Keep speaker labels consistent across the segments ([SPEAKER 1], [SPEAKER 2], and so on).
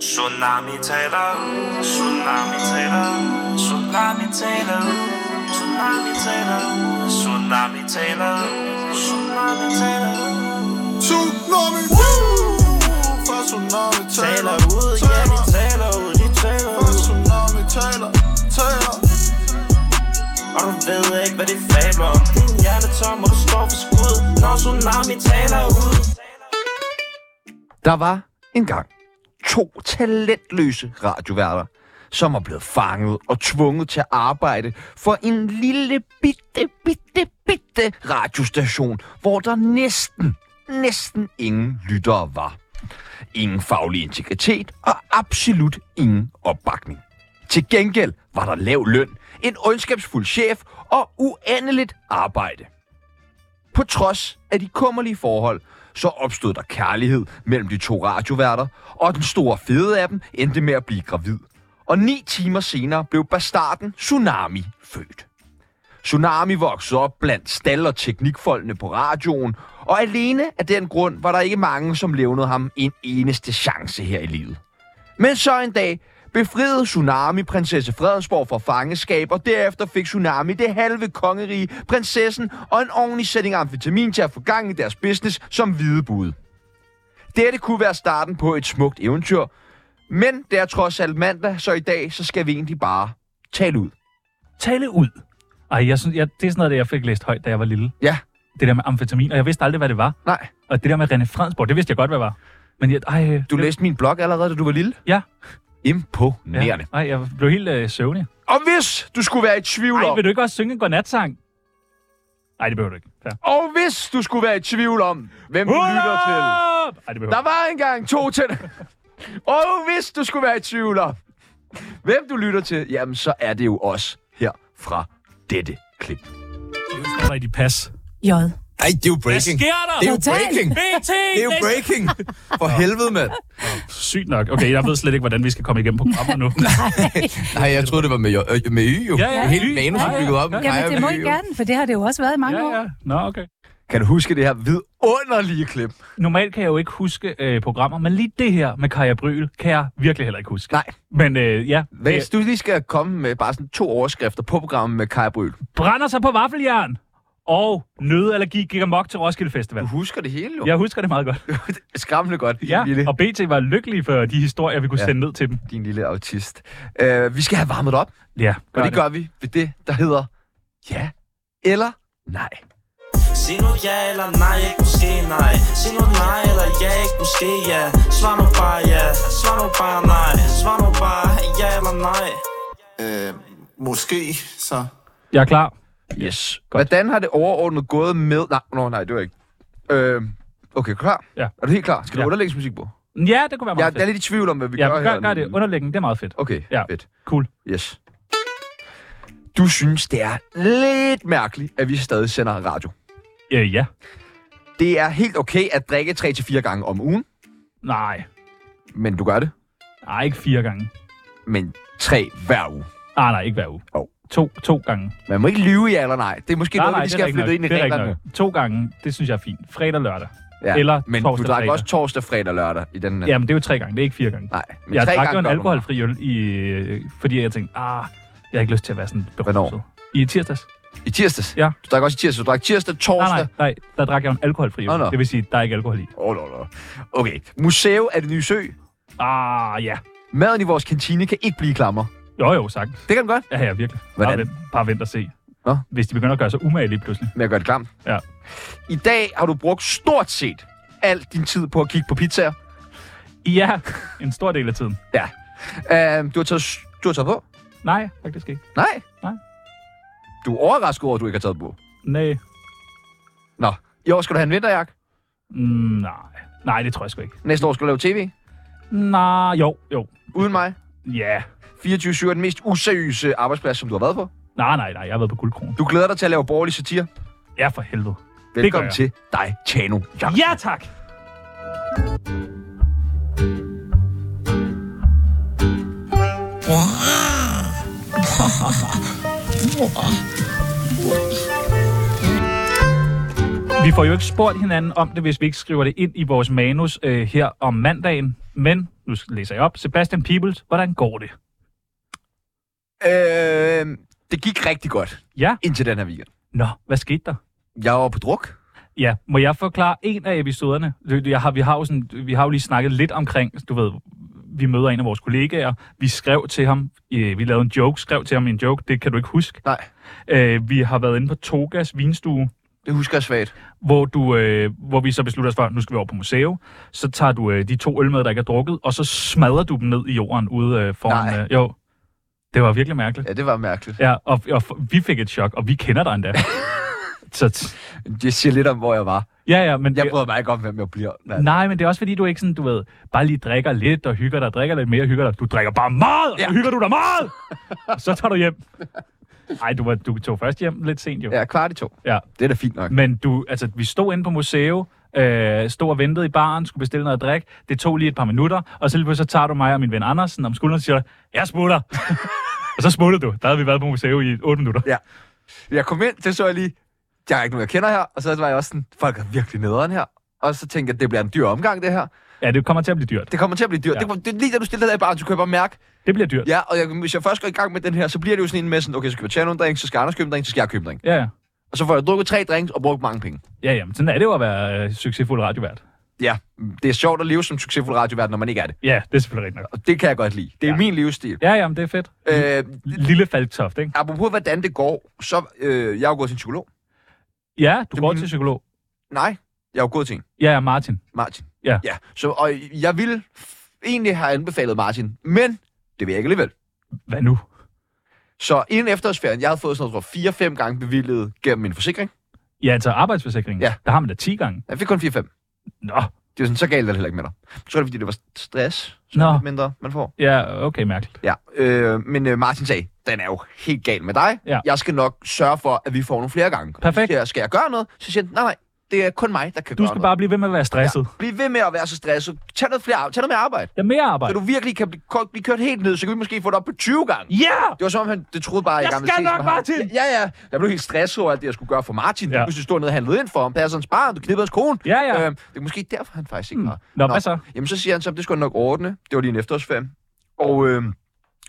[SPEAKER 1] Tsunami taler, tsunami taler, tsunami taler, tsunami taler, tsunami taler, tsunami taler.
[SPEAKER 2] Tsunami Fra tsunami
[SPEAKER 1] Taler ud, ja de taler ud, de taler
[SPEAKER 2] Fra
[SPEAKER 1] ud.
[SPEAKER 2] tsunami taler Taler
[SPEAKER 1] Og du ved ikke, hvad de fabler om Din hjerne er tom, og du står for skud Når tsunami taler ud
[SPEAKER 3] Der var engang to talentløse radioværter, som er blevet fanget og tvunget til at arbejde for en lille bitte, bitte, bitte radiostation, hvor der næsten, næsten ingen lyttere var. Ingen faglig integritet og absolut ingen opbakning. Til gengæld var der lav løn, en ondskabsfuld chef og uendeligt arbejde. På trods af de kummerlige forhold, så opstod der kærlighed mellem de to radioværter, og den store fede af dem endte med at blive gravid. Og ni timer senere blev bastarden Tsunami født. Tsunami voksede op blandt stald- og teknikfolkene på radioen, og alene af den grund var der ikke mange, som levnede ham en eneste chance her i livet. Men så en dag befriede Tsunami prinsesse Fredensborg fra fangeskab, og derefter fik Tsunami det halve kongerige, prinsessen og en ordentlig sætning amfetamin til at få gang i deres business som hvidebud. Dette kunne være starten på et smukt eventyr, men det er trods alt mandag, så i dag så skal vi egentlig bare tale ud.
[SPEAKER 4] Tale ud. Ej, jeg synes, jeg, det er sådan noget, jeg fik læst højt, da jeg var lille.
[SPEAKER 3] Ja,
[SPEAKER 4] Det der med amfetamin, og jeg vidste aldrig, hvad det var.
[SPEAKER 3] nej.
[SPEAKER 4] Og det der med René Fransborg, det vidste jeg godt, hvad var. Men jeg, ej,
[SPEAKER 3] Du
[SPEAKER 4] det,
[SPEAKER 3] læste min blog allerede, da du var lille?
[SPEAKER 4] Ja.
[SPEAKER 3] Imponerende.
[SPEAKER 4] Ja. Ej, jeg blev helt øh, søvnig.
[SPEAKER 3] Ja. Og hvis du skulle være i tvivl
[SPEAKER 4] Ej,
[SPEAKER 3] om,
[SPEAKER 4] vil du ikke også synge en godnatsang? Nej, det behøver du ikke. Ja.
[SPEAKER 3] og hvis du skulle være i tvivl om, hvem du lytter til,
[SPEAKER 4] Ej, det behøver
[SPEAKER 3] Der
[SPEAKER 4] du
[SPEAKER 3] var engang to til. Og hvis du skulle være i tvivl om, hvem du lytter til, jamen så er det jo os her fra dette klip.
[SPEAKER 4] ikke. Det var i dit pas.
[SPEAKER 5] J.
[SPEAKER 2] Ej, det er jo
[SPEAKER 4] Hvad
[SPEAKER 2] breaking
[SPEAKER 4] sker der?
[SPEAKER 2] Det er jo
[SPEAKER 5] Total.
[SPEAKER 2] breaking
[SPEAKER 4] BT!
[SPEAKER 2] Det er jo breaking For helvede, mand
[SPEAKER 4] Sygt nok. Okay, jeg ved slet ikke, hvordan vi skal komme igennem programmet nu.
[SPEAKER 2] Nej, jeg troede, det var med, jo- øh, med Y jo
[SPEAKER 4] Ja, ja,
[SPEAKER 2] Helt
[SPEAKER 4] Y.
[SPEAKER 2] manus
[SPEAKER 4] Ja, ja.
[SPEAKER 2] bygget op
[SPEAKER 5] Jamen,
[SPEAKER 2] Ej,
[SPEAKER 5] det må
[SPEAKER 2] med
[SPEAKER 5] I
[SPEAKER 2] Y.
[SPEAKER 5] gerne, for det har det jo også været i mange
[SPEAKER 4] ja,
[SPEAKER 5] år.
[SPEAKER 4] ja. Nå, okay.
[SPEAKER 3] Kan du huske det her vidunderlige klip?
[SPEAKER 4] Normalt kan jeg jo ikke huske øh, programmer, men lige det her med Kaja Bryl kan jeg virkelig heller ikke huske.
[SPEAKER 3] Nej.
[SPEAKER 4] Men øh, ja, det
[SPEAKER 3] Hvis du lige skal komme med bare sådan to overskrifter på programmet med Kaja Bryl.
[SPEAKER 4] brænder sig på vaffeljern, og nødallergi gik amok til Roskilde Festival.
[SPEAKER 3] Du husker det hele jo.
[SPEAKER 4] Jeg husker det meget godt.
[SPEAKER 3] Skræmmende godt, din,
[SPEAKER 4] Ja,
[SPEAKER 3] lille,
[SPEAKER 4] og BT var lykkelig for de historier, vi kunne
[SPEAKER 3] Ja.
[SPEAKER 4] ja. sende ned til dem.
[SPEAKER 3] din lille autist. Uh, vi skal have varmet op,
[SPEAKER 4] Ja,
[SPEAKER 3] og det gør vi ved det, der hedder ja eller nej.
[SPEAKER 1] Sig nu ja eller nej, ikke måske nej Sig nu nej eller ja, ikke måske ja Svar nu bare ja, svar nu bare nej Svar nu bare ja eller nej
[SPEAKER 2] Øh, måske så
[SPEAKER 4] Jeg er klar.
[SPEAKER 3] Yes.
[SPEAKER 4] Godt.
[SPEAKER 3] Hvordan har det overordnet gået med... Nej, no, nej, det var ikke... Øh, okay, klar?
[SPEAKER 4] Ja.
[SPEAKER 3] Er du helt klar? Skal du
[SPEAKER 4] Ja.
[SPEAKER 3] underlægningsmusik på?
[SPEAKER 4] Ja, det kunne være
[SPEAKER 3] Jeg
[SPEAKER 4] meget
[SPEAKER 3] jeg er
[SPEAKER 4] fedt.
[SPEAKER 3] lidt i tvivl om, hvad vi
[SPEAKER 4] Ja,
[SPEAKER 3] gør,
[SPEAKER 4] gør, gør,
[SPEAKER 3] her.
[SPEAKER 4] det. Underlæggen, det er meget fedt.
[SPEAKER 3] Okay, ja.
[SPEAKER 4] Ja.
[SPEAKER 3] fedt.
[SPEAKER 4] Cool.
[SPEAKER 3] Yes. Du synes, det er lidt mærkeligt, at vi stadig sender radio.
[SPEAKER 4] Øh, ja.
[SPEAKER 3] Det er helt okay at drikke 3-4 gange om ugen,
[SPEAKER 4] Nej.
[SPEAKER 3] men du gør det.
[SPEAKER 4] Nej, ikke fire gange.
[SPEAKER 3] Men 3 hver uge.
[SPEAKER 4] Ah, nej, ikke hver uge.
[SPEAKER 3] Jo.
[SPEAKER 4] To, to gange.
[SPEAKER 3] Man må ikke lyve ja eller nej. Det er måske
[SPEAKER 4] nej,
[SPEAKER 3] noget,
[SPEAKER 4] nej,
[SPEAKER 3] vi
[SPEAKER 4] det er
[SPEAKER 3] skal have
[SPEAKER 4] rigtigt
[SPEAKER 3] flyttet ind i
[SPEAKER 4] nok. Det er rigtigt
[SPEAKER 3] reglerne.
[SPEAKER 4] nok. To gange, det synes jeg er fint. Fredag, lørdag. Eller
[SPEAKER 3] men
[SPEAKER 4] torsdag,
[SPEAKER 3] du drak
[SPEAKER 4] fredag.
[SPEAKER 3] også torsdag, fredag og lørdag i den her.
[SPEAKER 4] Jamen, det er jo tre gange, det er ikke fire gange.
[SPEAKER 3] Nej, men
[SPEAKER 4] jeg
[SPEAKER 3] tre
[SPEAKER 4] drak jo
[SPEAKER 3] gange
[SPEAKER 4] en
[SPEAKER 3] gør du.
[SPEAKER 4] alkoholfri øl, i, øh, fordi jeg tænkte, ah, jeg har ikke lyst til at være sådan beruset. I tirsdags?
[SPEAKER 3] I tirsdags?
[SPEAKER 4] Ja.
[SPEAKER 3] Du drak også i tirsdags. Du drak tirsdag, torsdag.
[SPEAKER 4] Nej, nej, nej, der drak jeg jo en alkoholfri øl.
[SPEAKER 3] Nå, nå.
[SPEAKER 4] Det vil sige, der er ikke alkohol i.
[SPEAKER 3] Oh, no, no. Okay. Museum er det nye sø.
[SPEAKER 4] Ah, ja.
[SPEAKER 3] Maden i vores kantine kan ikke blive klammer.
[SPEAKER 4] Jo, jo, sagtens.
[SPEAKER 3] Det kan den godt.
[SPEAKER 4] Ja, ja, virkelig.
[SPEAKER 3] Hvordan?
[SPEAKER 4] Bare vent, bare vent og se.
[SPEAKER 3] Nå.
[SPEAKER 4] Hvis de begynder at gøre sig umage lige pludselig.
[SPEAKER 3] Med at gøre det klam.
[SPEAKER 4] Ja.
[SPEAKER 3] I dag har du brugt stort set al din tid på at kigge på pizzaer.
[SPEAKER 4] Ja, en stor del af tiden.
[SPEAKER 3] Ja. Uh, du, har taget, s- du har taget på?
[SPEAKER 4] Nej, faktisk ikke.
[SPEAKER 3] Nej.
[SPEAKER 4] Nej.
[SPEAKER 3] Du er overrasket over, at du ikke har taget på.
[SPEAKER 4] Nej.
[SPEAKER 3] Nå. I år skal du have en vinterjakke.
[SPEAKER 4] Mm, nej. Nej, det tror jeg sgu ikke.
[SPEAKER 3] Næste år skal du lave tv.
[SPEAKER 4] Nej, jo, jo.
[SPEAKER 3] Uden mig.
[SPEAKER 4] Ja.
[SPEAKER 3] 24-7 er den mest useriøse arbejdsplads, som du har været på.
[SPEAKER 4] Nej, nej, nej. Jeg har været på guldkronen.
[SPEAKER 3] Du glæder dig til at lave borgerlig satire.
[SPEAKER 4] Ja, for helvede. gør
[SPEAKER 3] Velkommen
[SPEAKER 4] jeg.
[SPEAKER 3] til dig, Tjano Jacobsen.
[SPEAKER 4] Ja, tak! Vi får jo ikke spurgt hinanden om det, hvis vi ikke skriver det ind i vores manus øh, her om mandagen. Men, nu læser jeg op. Sebastian Peebles, hvordan går det?
[SPEAKER 3] Øh, det gik rigtig godt
[SPEAKER 4] Ja.
[SPEAKER 3] indtil den her weekend.
[SPEAKER 4] Nå, hvad skete der?
[SPEAKER 3] Jeg var på druk.
[SPEAKER 4] Ja, må jeg forklare en af episoderne? Det- Jeg har, vi, har jo sådan, vi har jo lige snakket lidt omkring, du ved, vi møder en af vores kollegaer, vi skrev til ham, øh, vi lavede en joke, skrev til ham en joke, det kan du ikke huske.
[SPEAKER 3] Nej,
[SPEAKER 4] Øh, vi har været inde på Togas vinstue,
[SPEAKER 3] det husker jeg svagt.
[SPEAKER 4] hvor, du, øh, hvor vi så beslutter os for, at nu skal vi over på museum. Så tager du øh, de to øl med, der ikke er drukket, og så smadrer du dem ned i jorden ude øh, foran...
[SPEAKER 3] Nej.
[SPEAKER 4] Øh, jo, det var virkelig mærkeligt.
[SPEAKER 3] Ja, det var mærkeligt.
[SPEAKER 4] Ja, og, og vi fik et chok, og vi kender dig endda. så,
[SPEAKER 3] Jeg siger lidt om, hvor jeg var.
[SPEAKER 4] ja, ja, men...
[SPEAKER 3] Jeg bryder mig ikke om, hvem jeg bliver. Nej.
[SPEAKER 4] Nej, men det er også fordi, du ikke sådan, du ved, bare lige drikker lidt og hygger dig, drikker lidt mere og hygger dig. Du drikker bare meget, og så
[SPEAKER 3] Ja.
[SPEAKER 4] hygger du dig meget! og så tager du hjem. Nej, du, var, du tog først hjem lidt sent jo.
[SPEAKER 3] Ja, kvart i to.
[SPEAKER 4] ja.
[SPEAKER 3] Det er da fint nok.
[SPEAKER 4] Men du, altså, vi stod inde på museet, øh, stod og ventede i baren, skulle bestille noget at drikke. Det tog lige et par minutter, og så lige pludselig så tager du mig og min ven Andersen om skulderen og siger, jeg smutter. og så smuttede du. Der havde vi været på museet i 8 minutter.
[SPEAKER 3] Ja. Jeg kom ind, det så jeg lige, der er ikke nogen, jeg kender her. Og så var jeg også sådan, folk er virkelig nederen her. Og så tænkte jeg, det bliver en dyr omgang, det her.
[SPEAKER 4] Ja, det kommer til at blive dyrt.
[SPEAKER 3] Det kommer til at blive dyrt.
[SPEAKER 4] Ja.
[SPEAKER 3] Ja. Det, kom- det, er lige da du stiller dig i baren, så kan jeg bare mærke,
[SPEAKER 4] Det bliver dyrt.
[SPEAKER 3] ja, og jeg, hvis jeg først går i gang med den her, så bliver det jo sådan en med sådan, okay, så skal jeg tage nogle drink, så skal Anders købe en drink, så skal jeg købe en drink.
[SPEAKER 4] Ja, ja.
[SPEAKER 3] Og så får jeg drukket tre drinks og brugt mange penge.
[SPEAKER 4] Ja, jamen, sådan er det jo at være øh, succesfuld radiovært.
[SPEAKER 3] Ja, det er sjovt at leve som succesfuld radiovært, når man ikke er det.
[SPEAKER 4] Ja, det er selvfølgelig rigtigt nok.
[SPEAKER 3] Og det kan jeg godt lide. Det er
[SPEAKER 4] Ja.
[SPEAKER 3] ja. min livsstil.
[SPEAKER 4] Ja, jamen, det er fedt.
[SPEAKER 3] Øh,
[SPEAKER 4] Lille Falktoft, ikke?
[SPEAKER 3] apropos hvordan det går, så øh, jeg er jo gået til en psykolog.
[SPEAKER 4] Ja, du
[SPEAKER 3] Det
[SPEAKER 4] går
[SPEAKER 3] må-
[SPEAKER 4] til psykolog.
[SPEAKER 3] Nej, jeg er jo gået til en.
[SPEAKER 4] Ja, ja, Martin.
[SPEAKER 3] Martin.
[SPEAKER 4] Ja.
[SPEAKER 3] ja. Så, og jeg ville f- egentlig have anbefalet Martin, men det vil jeg ikke alligevel.
[SPEAKER 4] Hvad nu?
[SPEAKER 3] Så inden efterårsferien, jeg havde fået sådan noget 4-5 gange bevillet gennem min forsikring.
[SPEAKER 4] Ja, altså arbejdsforsikringen.
[SPEAKER 3] Ja.
[SPEAKER 4] Der har man da 10 gange.
[SPEAKER 3] Jeg fik kun 4-5.
[SPEAKER 4] Nå,
[SPEAKER 3] Det er sådan, så galt er det heller ikke med dig. Jeg tror, det er, fordi det var stress, så
[SPEAKER 4] Nå.
[SPEAKER 3] lidt mindre man får.
[SPEAKER 4] ja, okay, mærkeligt.
[SPEAKER 3] Ja, øh, men øh, Martin sagde, den er jo helt gal med dig.
[SPEAKER 4] Ja.
[SPEAKER 3] Jeg skal nok sørge for, at vi får nogle flere gange.
[SPEAKER 4] Perfekt.
[SPEAKER 3] Så siger jeg, skal jeg gøre noget? Så siger han, nej, nej, det er kun mig, der kan
[SPEAKER 4] Du
[SPEAKER 3] gøre
[SPEAKER 4] skal
[SPEAKER 3] noget.
[SPEAKER 4] bare blive ved med at være stresset. Ja,
[SPEAKER 3] Bliv ved med at være så stresset. Tag noget, flere, ar- tag noget mere arbejde.
[SPEAKER 4] ja mere
[SPEAKER 3] Så
[SPEAKER 4] arbejde.
[SPEAKER 3] du virkelig kan blive, ko- blive kørt helt ned, så kan vi måske få det op på 20 gange.
[SPEAKER 4] Ja!
[SPEAKER 3] Det var som om, han det troede bare,
[SPEAKER 4] Jeg
[SPEAKER 3] jeg, gerne ville
[SPEAKER 4] skal
[SPEAKER 3] ses
[SPEAKER 4] nok,
[SPEAKER 3] med ham.
[SPEAKER 4] Martin!
[SPEAKER 3] Ja, ja. Jeg blev helt stresset over alt det, jeg skulle gøre for Martin.
[SPEAKER 4] Ja.
[SPEAKER 3] Ja. Du synes, stå nede og handlede ind for ham. Passer hans barn, du knippede hans kone.
[SPEAKER 4] Ja, ja.
[SPEAKER 3] Øhm, det er måske derfor, han faktisk ikke
[SPEAKER 4] Hmm.
[SPEAKER 3] var.
[SPEAKER 4] Nå, hvad så?
[SPEAKER 3] Jamen, så siger han så, det skulle han nok ordne. Det var lige en efterårsferie. Og øhm,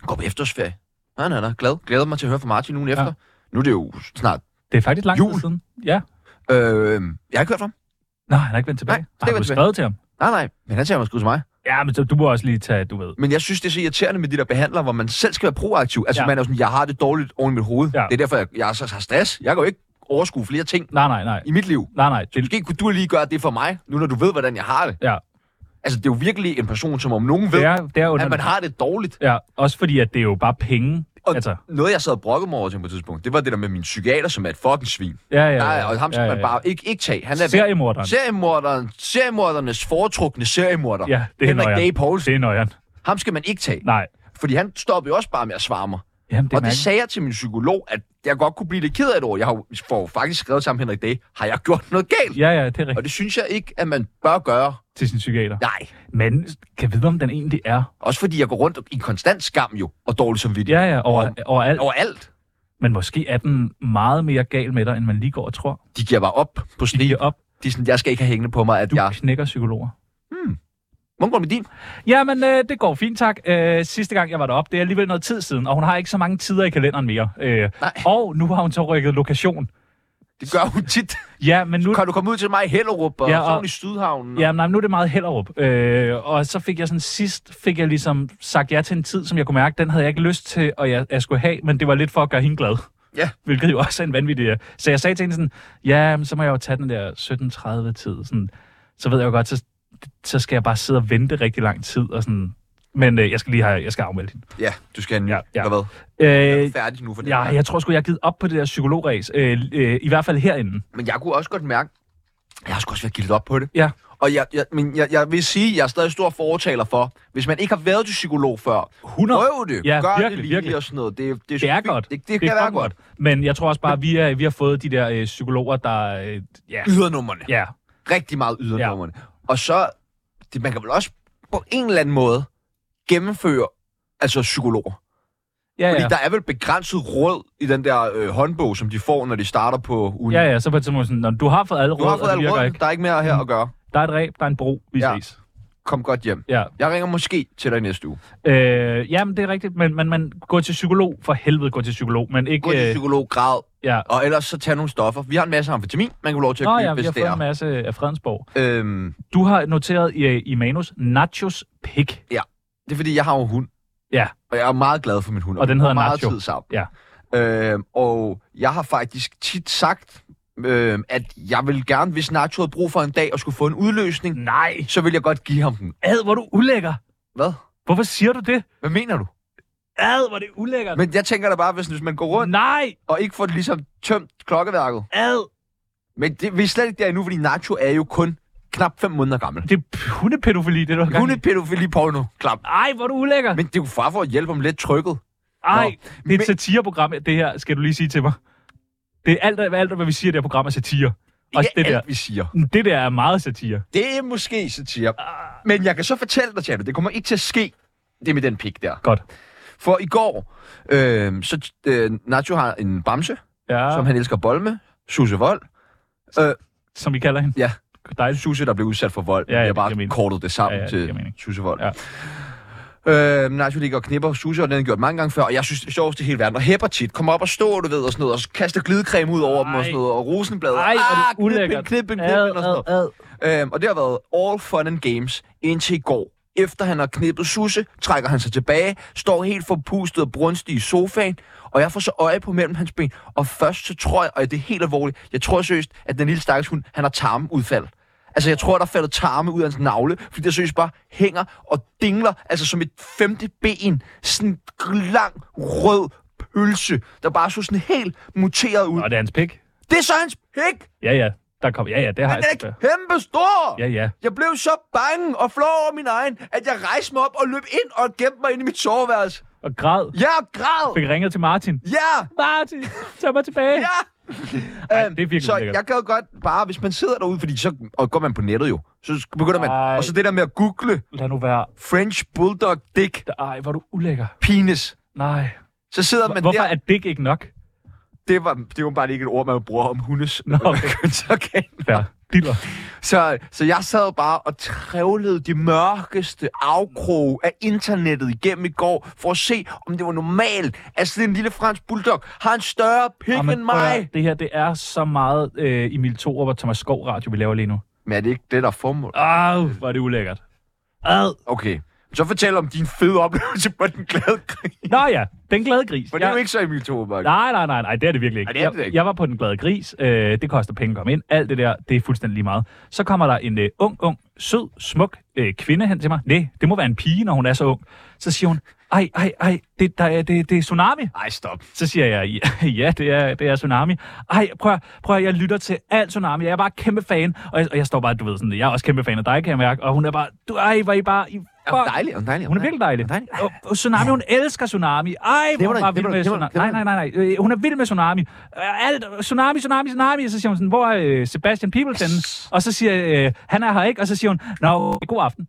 [SPEAKER 3] går på efterårsferie. Nej, nej, nej. Glad. Glæder mig til at høre fra Martin ugen efter.
[SPEAKER 4] Ja.
[SPEAKER 3] Nu er det jo snart.
[SPEAKER 4] Det er faktisk lang tid
[SPEAKER 3] Jul.
[SPEAKER 4] siden. Ja.
[SPEAKER 3] Øhm, jeg har ikke hørt fra ham.
[SPEAKER 4] Nå, han er ikke vendt tilbage.
[SPEAKER 3] Nej, det er
[SPEAKER 4] har
[SPEAKER 3] vendt
[SPEAKER 4] du
[SPEAKER 3] tilbage.
[SPEAKER 4] skrevet til ham?
[SPEAKER 3] Nej, nej. Men han siger, at man skulle til mig.
[SPEAKER 4] Ja, men så, du må også lige tage, du ved.
[SPEAKER 3] Men jeg synes, det er så irriterende med de der behandlere, hvor man selv skal være proaktiv. Altså,
[SPEAKER 4] Ja.
[SPEAKER 3] ja. man er jo sådan, jeg har det dårligt oven i mit hoved.
[SPEAKER 4] Ja.
[SPEAKER 3] Ja. Det er derfor, jeg, jeg så har stress. Jeg kan jo ikke overskue flere ting
[SPEAKER 4] Nej, nej, nej.
[SPEAKER 3] i mit liv.
[SPEAKER 4] Nej, nej. Det,
[SPEAKER 3] Måske kunne du lige gøre det for mig, nu når du ved, hvordan jeg har det.
[SPEAKER 4] ja,
[SPEAKER 3] Altså, det er jo virkelig en person, som om nogen ved,
[SPEAKER 4] det er, det er
[SPEAKER 3] at man
[SPEAKER 4] under...
[SPEAKER 3] har det dårligt.
[SPEAKER 4] Ja, også fordi, at det er jo bare penge.
[SPEAKER 3] Og
[SPEAKER 4] Altså,
[SPEAKER 3] noget, jeg sad og brokkede mig over til på et tidspunkt, det var det der med min psykiater, som er et fucking svin.
[SPEAKER 4] ja, ja,
[SPEAKER 3] Ja,
[SPEAKER 4] ja.
[SPEAKER 3] Nej, og ham skal
[SPEAKER 4] ja,
[SPEAKER 3] man bare ikke, ikke tage. Han er
[SPEAKER 4] Seriemorderen.
[SPEAKER 3] seriemorderen, seriemordernes foretrukne seriemorder.
[SPEAKER 4] Ja, det er
[SPEAKER 3] Henrik
[SPEAKER 4] nøjeren.
[SPEAKER 3] Day Poulsen.
[SPEAKER 4] Det er nøjeren.
[SPEAKER 3] Ham skal man ikke tage.
[SPEAKER 4] Nej.
[SPEAKER 3] Fordi han stoppede jo også bare med at svare mig.
[SPEAKER 4] Jamen, det er
[SPEAKER 3] og det
[SPEAKER 4] mærkeligt.
[SPEAKER 3] sagde jeg til min psykolog, at jeg godt kunne blive lidt ked af det over. Jeg har jo får jo faktisk skrevet sammen Henrik Day, har jeg gjort noget galt?
[SPEAKER 4] Ja, ja, det er
[SPEAKER 3] Og
[SPEAKER 4] rigtigt
[SPEAKER 3] det synes jeg ikke, at man bør gøre.
[SPEAKER 4] til sin psykiater.
[SPEAKER 3] Nej.
[SPEAKER 4] Men kan vide, om den egentlig er.
[SPEAKER 3] Også fordi jeg går rundt i konstant skam jo, og dårlig samvittighed.
[SPEAKER 4] Ja, ja, over, overalt.
[SPEAKER 3] Overalt.
[SPEAKER 4] Men måske er den meget mere gal med dig, end man lige går og tror.
[SPEAKER 3] De giver bare op på
[SPEAKER 4] De
[SPEAKER 3] snige.
[SPEAKER 4] giver op.
[SPEAKER 3] De er sådan, jeg skal ikke have hængende på mig, at
[SPEAKER 4] Du ja.
[SPEAKER 3] jeg...
[SPEAKER 4] knækker psykologer.
[SPEAKER 3] Hvordan går det med din?
[SPEAKER 4] Jamen, øh, det går fint, tak. Øh, sidste gang, jeg var deroppe, det er alligevel noget tid siden, og hun har ikke så mange tider i kalenderen mere. Øh,
[SPEAKER 3] Nej.
[SPEAKER 4] og nu har hun så rykket lokation.
[SPEAKER 3] Det gør hun tit.
[SPEAKER 4] Ja, men nu,
[SPEAKER 3] Kan du komme ud til mig i Hellerup og,
[SPEAKER 4] Ja,
[SPEAKER 3] ja,
[SPEAKER 4] og-
[SPEAKER 3] og... sådan i Sydhavnen?
[SPEAKER 4] ja, nej, men nu er det meget Hellerup. Øh, og så fik jeg sådan sidst, fik jeg ligesom sagt ja til en tid, som jeg kunne mærke, den havde jeg ikke lyst til, og jeg, jeg skulle have, men det var lidt for at gøre hende glad.
[SPEAKER 3] Ja.
[SPEAKER 4] Hvilket jo også er en vanvittig... øh, Så jeg sagde til hende sådan, ja, men så må jeg jo tage den der 17.30-tid. Sådan, så ved jeg jo godt, så, så skal jeg bare sidde og vente rigtig lang tid. Og sådan. Men øh, jeg skal lige have, jeg skal afmelde hende.
[SPEAKER 3] ja du skal have en ny,
[SPEAKER 4] Ja,
[SPEAKER 3] ja,
[SPEAKER 4] ja.
[SPEAKER 3] ja. eller hvad? Jeg
[SPEAKER 4] Øh,
[SPEAKER 3] er færdig nu for det.
[SPEAKER 4] ja,
[SPEAKER 3] Ja, ja.
[SPEAKER 4] jeg tror sgu, jeg har givet op på det der psykologræs. Øh, øh, I hvert fald herinde.
[SPEAKER 3] Men jeg kunne også godt mærke, jeg har sgu også været gildet op på det.
[SPEAKER 4] Ja.
[SPEAKER 3] Og jeg, jeg, men jeg, jeg vil sige, jeg er stadig stor fortaler for, hvis man ikke har været til psykolog før,
[SPEAKER 4] 100.
[SPEAKER 3] prøv det.
[SPEAKER 4] Ja,
[SPEAKER 3] Gør
[SPEAKER 4] virkelig,
[SPEAKER 3] det lige
[SPEAKER 4] virkelig.
[SPEAKER 3] og sådan noget. Det, det,
[SPEAKER 4] Det er
[SPEAKER 3] fint.
[SPEAKER 4] godt.
[SPEAKER 3] Det, det, det kan være
[SPEAKER 4] fucking
[SPEAKER 3] godt.
[SPEAKER 4] Men jeg tror også bare, at vi, er, vi har fået de der øh, psykologer, der... Øh, ja,
[SPEAKER 3] Ydernummerne.
[SPEAKER 4] ja,
[SPEAKER 3] rigtig meget ydernummerne. Ja. Og så, det, man kan vel også på en eller anden måde gennemføre altså psykologer.
[SPEAKER 4] ja,
[SPEAKER 3] Fordi
[SPEAKER 4] ja.
[SPEAKER 3] der er vel begrænset råd i den der øh, håndbog, som de får, når de starter på ugen.
[SPEAKER 4] Ja, ja, så på et tidspunkt sådan, "Nå, du har fået alle
[SPEAKER 3] Du har
[SPEAKER 4] råd,
[SPEAKER 3] fået
[SPEAKER 4] og det
[SPEAKER 3] alle
[SPEAKER 4] virker
[SPEAKER 3] råd,
[SPEAKER 4] ikke. Mm.
[SPEAKER 3] der er ikke mere her at gøre.
[SPEAKER 4] Der er et ræb, der er en bro, vi
[SPEAKER 3] Ja.
[SPEAKER 4] ses.
[SPEAKER 3] kom godt hjem.
[SPEAKER 4] Ja.
[SPEAKER 3] Jeg ringer måske til dig næste uge.
[SPEAKER 4] Øh, jamen, det er rigtigt, men, men man går til psykolog. For helvede, gå til psykolog. Men ikke...
[SPEAKER 3] Gå til
[SPEAKER 4] øh,
[SPEAKER 3] psykolog, græd,
[SPEAKER 4] ja.
[SPEAKER 3] og ellers så tag nogle stoffer. Vi har en masse amfetamin, man kan få lov til at
[SPEAKER 4] Nå
[SPEAKER 3] købe,
[SPEAKER 4] ja, vi
[SPEAKER 3] hvis
[SPEAKER 4] har
[SPEAKER 3] det
[SPEAKER 4] fået
[SPEAKER 3] er.
[SPEAKER 4] en masse af Fredensborg.
[SPEAKER 3] Øhm,
[SPEAKER 4] Du har noteret i, øh, i manus Nachos Pik.
[SPEAKER 3] det er fordi, jeg har jo hund.
[SPEAKER 4] Ja.
[SPEAKER 3] Og jeg er meget glad for min hund.
[SPEAKER 4] Og den
[SPEAKER 3] vi
[SPEAKER 4] hedder
[SPEAKER 3] bruger meget
[SPEAKER 4] Nacho.
[SPEAKER 3] tid sammen.
[SPEAKER 4] Ja.
[SPEAKER 3] Øhm, og jeg har faktisk tit sagt, øhm, at jeg vil gerne, hvis Nacho havde brug for en dag og skulle få en udløsning,
[SPEAKER 4] Nej.
[SPEAKER 3] så vil jeg godt give ham den.
[SPEAKER 4] Ad, hvor er du ulækker.
[SPEAKER 3] Hvad?
[SPEAKER 4] Hvorfor siger du det?
[SPEAKER 3] Hvad mener du?
[SPEAKER 4] Ad, hvor er det ulækkert.
[SPEAKER 3] Men jeg tænker da bare, hvis, hvis man går rundt
[SPEAKER 4] Nej,
[SPEAKER 3] og ikke får ligesom tømt klokkeværket.
[SPEAKER 4] ad.
[SPEAKER 3] Men det, vi er slet ikke der endnu, fordi Nacho er jo kun knap 5 måneder gammel.
[SPEAKER 4] Det er p- hundepædofili, det du har gang i.
[SPEAKER 3] Hundepædofili porno, klap.
[SPEAKER 4] Ej, hvor er du ulækker.
[SPEAKER 3] Men det er jo far for at hjælpe ham lidt trykket.
[SPEAKER 4] Ej,
[SPEAKER 3] Nå,
[SPEAKER 4] det er et
[SPEAKER 3] men-
[SPEAKER 4] satireprogram, det her, skal du lige sige til mig. Det er alt, alt hvad vi siger i det her program er satire. Og
[SPEAKER 3] Ikke
[SPEAKER 4] det der.
[SPEAKER 3] alt, vi siger.
[SPEAKER 4] Det der er meget satire.
[SPEAKER 3] Det er måske satire.
[SPEAKER 4] Ah.
[SPEAKER 3] Men jeg kan så fortælle dig, Tjerno, det kommer ikke til at ske, det med den pik der.
[SPEAKER 4] Godt.
[SPEAKER 3] For i går, øh, så øh, Nacho har en bamse,
[SPEAKER 4] Ja,
[SPEAKER 3] ja. som
[SPEAKER 4] som,
[SPEAKER 3] han elsker at bolle med. Susse Vold.
[SPEAKER 4] som vi kalder hende.
[SPEAKER 3] Ja.
[SPEAKER 4] Dejligt.
[SPEAKER 3] Susse, der blev udsat for vold.
[SPEAKER 4] Ja, ja,
[SPEAKER 3] jeg
[SPEAKER 4] det
[SPEAKER 3] bare
[SPEAKER 4] giver mening.
[SPEAKER 3] kortet det sammen
[SPEAKER 4] Ja, ja, det
[SPEAKER 3] til
[SPEAKER 4] giver mening.
[SPEAKER 3] Susse Vold. Ja. Øh, Nacho ligger og knipper Susse, og den har han gjort mange gange før, og jeg synes, det er sjovest i hele verden. Og hæpper tit, kommer op og står, du ved, og sådan noget, og kaster glidecreme ud over dem og sådan noget, og rosenblad. Ah,
[SPEAKER 4] Ej, hvor er det ulækkert.
[SPEAKER 3] knip en, knip en,
[SPEAKER 4] Ad,
[SPEAKER 3] og sådan noget.
[SPEAKER 4] ad, ad.
[SPEAKER 3] Øhm, og det har været all fun and games indtil i går. Efter han har knippet Susse, trækker han sig tilbage, står helt forpustet og brunstig i sofaen, og jeg får så øje på mellem hans ben, og først så tror jeg, og det er helt alvorligt, jeg tror seriøst, at den lille stakkels hund, han har tarmudfald. Altså, jeg tror, der falder tarme ud af hans navle, fordi der seriøst bare hænger og dingler, altså som et femte ben, sådan en lang rød pølse, der bare så sådan helt muteret ud.
[SPEAKER 4] Og det er hans pik.
[SPEAKER 3] Det er så hans pik!
[SPEAKER 4] Ja, ja. Der kom. Ja, ja, det har
[SPEAKER 3] Den
[SPEAKER 4] jeg
[SPEAKER 3] er
[SPEAKER 4] set før.
[SPEAKER 3] kæmpe stor!
[SPEAKER 4] Ja, ja.
[SPEAKER 3] Jeg blev så bange og flov over min egen, at jeg rejste mig op og løb ind og gemte mig ind i mit soveværelse.
[SPEAKER 4] Og græd.
[SPEAKER 3] Jeg græd!
[SPEAKER 4] Fik ringet til Martin.
[SPEAKER 3] Ja!
[SPEAKER 4] Martin, tag mig tilbage.
[SPEAKER 3] Ja!
[SPEAKER 4] Ej,
[SPEAKER 3] Øhm,
[SPEAKER 4] det er virkelig
[SPEAKER 3] så
[SPEAKER 4] ulækkert.
[SPEAKER 3] jeg gad godt bare, hvis man sidder derude, fordi så og går man på nettet jo, så sk- begynder man.
[SPEAKER 4] Ej.
[SPEAKER 3] Og så det der med at google
[SPEAKER 4] Lad nu være.
[SPEAKER 3] French Bulldog Dick
[SPEAKER 4] Ej, hvor er du ulækker.
[SPEAKER 3] Penis.
[SPEAKER 4] Nej.
[SPEAKER 3] Så sidder man
[SPEAKER 4] Men Hvorfor
[SPEAKER 3] der.
[SPEAKER 4] er dick ikke nok?
[SPEAKER 3] Det var, det var bare ikke et ord, man bruger om hundes
[SPEAKER 4] Nå, okay.
[SPEAKER 3] kønsorgan.
[SPEAKER 4] Fair. Diller.
[SPEAKER 3] Så, så jeg sad bare og trævlede de mørkeste afkroge af internettet igennem i går, for at se, om det var normalt, at sådan en lille fransk bulldog har en større pik
[SPEAKER 4] Jamen,
[SPEAKER 3] end
[SPEAKER 4] prøv at
[SPEAKER 3] mig.
[SPEAKER 4] høre, Det her, det er så meget øh, Emil Thorup og Thomas Skov Radio, vi laver lige nu.
[SPEAKER 3] Men er det ikke det, der er formål?
[SPEAKER 4] Au, hvor er det ulækkert. Ad.
[SPEAKER 3] Okay, så fortæl om din fede oplevelse på den glade krig.
[SPEAKER 4] Nå ja, den glade gris.
[SPEAKER 3] For det er
[SPEAKER 4] Jeg-
[SPEAKER 3] jo ikke så Emil Thoreberg.
[SPEAKER 4] Nej, nej, nej, nej, det er det virkelig
[SPEAKER 3] Nej,
[SPEAKER 4] ikke.
[SPEAKER 3] det er det
[SPEAKER 4] jeg,
[SPEAKER 3] ikke.
[SPEAKER 4] jeg var på den glade gris. Øh, det koster penge at komme ind. Alt det der, det er fuldstændig lige meget. Så kommer der en øh, ung, ung, sød, smuk øh, kvinde hen til mig. Nej, det må være en pige, når hun er så ung. Så siger hun, ej, ej, ej, det, der, er- det, det er tsunami.
[SPEAKER 3] Ej, stop.
[SPEAKER 4] Så siger jeg, ja, ja det, er, det er Tsunami. Ej, prøv, at- prøv at- jeg lytter til alt Tsunami. Jeg er bare kæmpe fan. Og jeg, og jeg står bare, du ved sådan, jeg er også kæmpe fan af dig, kan jeg mærke. Og hun er bare, du, ej, var I bare... I,
[SPEAKER 3] Ja, hun er
[SPEAKER 4] fuck.
[SPEAKER 3] dejlig, hun er dejlig.
[SPEAKER 4] Hun er virkelig dejlig.
[SPEAKER 3] Dejlig.
[SPEAKER 4] Og, og Tsunami, hun elsker Tsunami. Ej, hvor
[SPEAKER 3] Nævner
[SPEAKER 4] hun
[SPEAKER 3] du
[SPEAKER 4] var
[SPEAKER 3] ikke?
[SPEAKER 4] vild med
[SPEAKER 3] Nævner du ikke? Nævner
[SPEAKER 4] Tsunami.
[SPEAKER 3] du
[SPEAKER 4] Nej,
[SPEAKER 3] ikke?
[SPEAKER 4] nej, nej, nej. Øh, Hun er vild med Tsunami. Øh, Alt, Tsunami, Tsunami, Tsunami. Og så siger hun sådan, hvor er øh, Sebastian Peebles henne? Og så siger jeg, øh, han er her ikke. Og så siger hun, nå, god aften.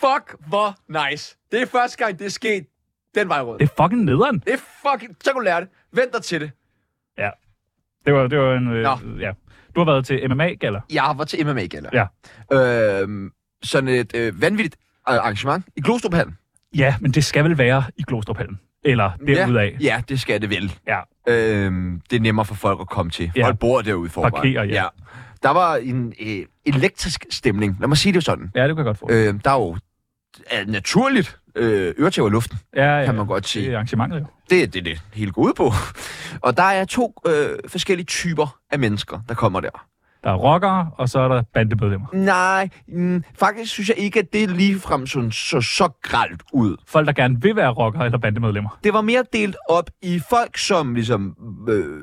[SPEAKER 3] Fuck, hvor nice. Det er første gang, det er sket den vej rundt.
[SPEAKER 4] Det er fucking nederen.
[SPEAKER 3] Det er fucking... Så kan du lære det. Vent dig til det.
[SPEAKER 4] Det var, det var en... Øh,
[SPEAKER 3] Nå.
[SPEAKER 4] ja. Du har været til MMA-galler.
[SPEAKER 3] Jeg var til MMA Gala.
[SPEAKER 4] Ja.
[SPEAKER 3] Øhm, sådan et øh, vanvittigt øh, arrangement i Glostruphallen.
[SPEAKER 4] Ja, men det skal vel være i Glostruphallen. Eller derudaf.
[SPEAKER 3] Ja, ja, det skal det vel.
[SPEAKER 4] Ja.
[SPEAKER 3] Øhm, det er nemmere for folk at komme til.
[SPEAKER 4] Ja.
[SPEAKER 3] Ja. Folk bor derude for
[SPEAKER 4] Parkerer, ja.
[SPEAKER 3] Der var en øh, elektrisk stemning. Lad mig sige det sådan.
[SPEAKER 4] Ja, det kan jeg godt få. Øh,
[SPEAKER 3] Øh, der er jo øh, naturligt øh, øretæver i luften,
[SPEAKER 4] ja, ja,
[SPEAKER 3] kan man godt
[SPEAKER 4] Det
[SPEAKER 3] sige.
[SPEAKER 4] er arrangementet jo.
[SPEAKER 3] Det er det, det hele går ud på. Og der er to øh, forskellige typer af mennesker, der kommer der.
[SPEAKER 4] Der er rockere, og så er der bandemedlemmer.
[SPEAKER 3] Nej, mm, faktisk synes jeg ikke, at det ligefrem sådan, så, så gralt ud.
[SPEAKER 4] Folk, der gerne vil være rockere eller bandemedlemmer.
[SPEAKER 3] Det var mere delt op i folk, som ligesom øh,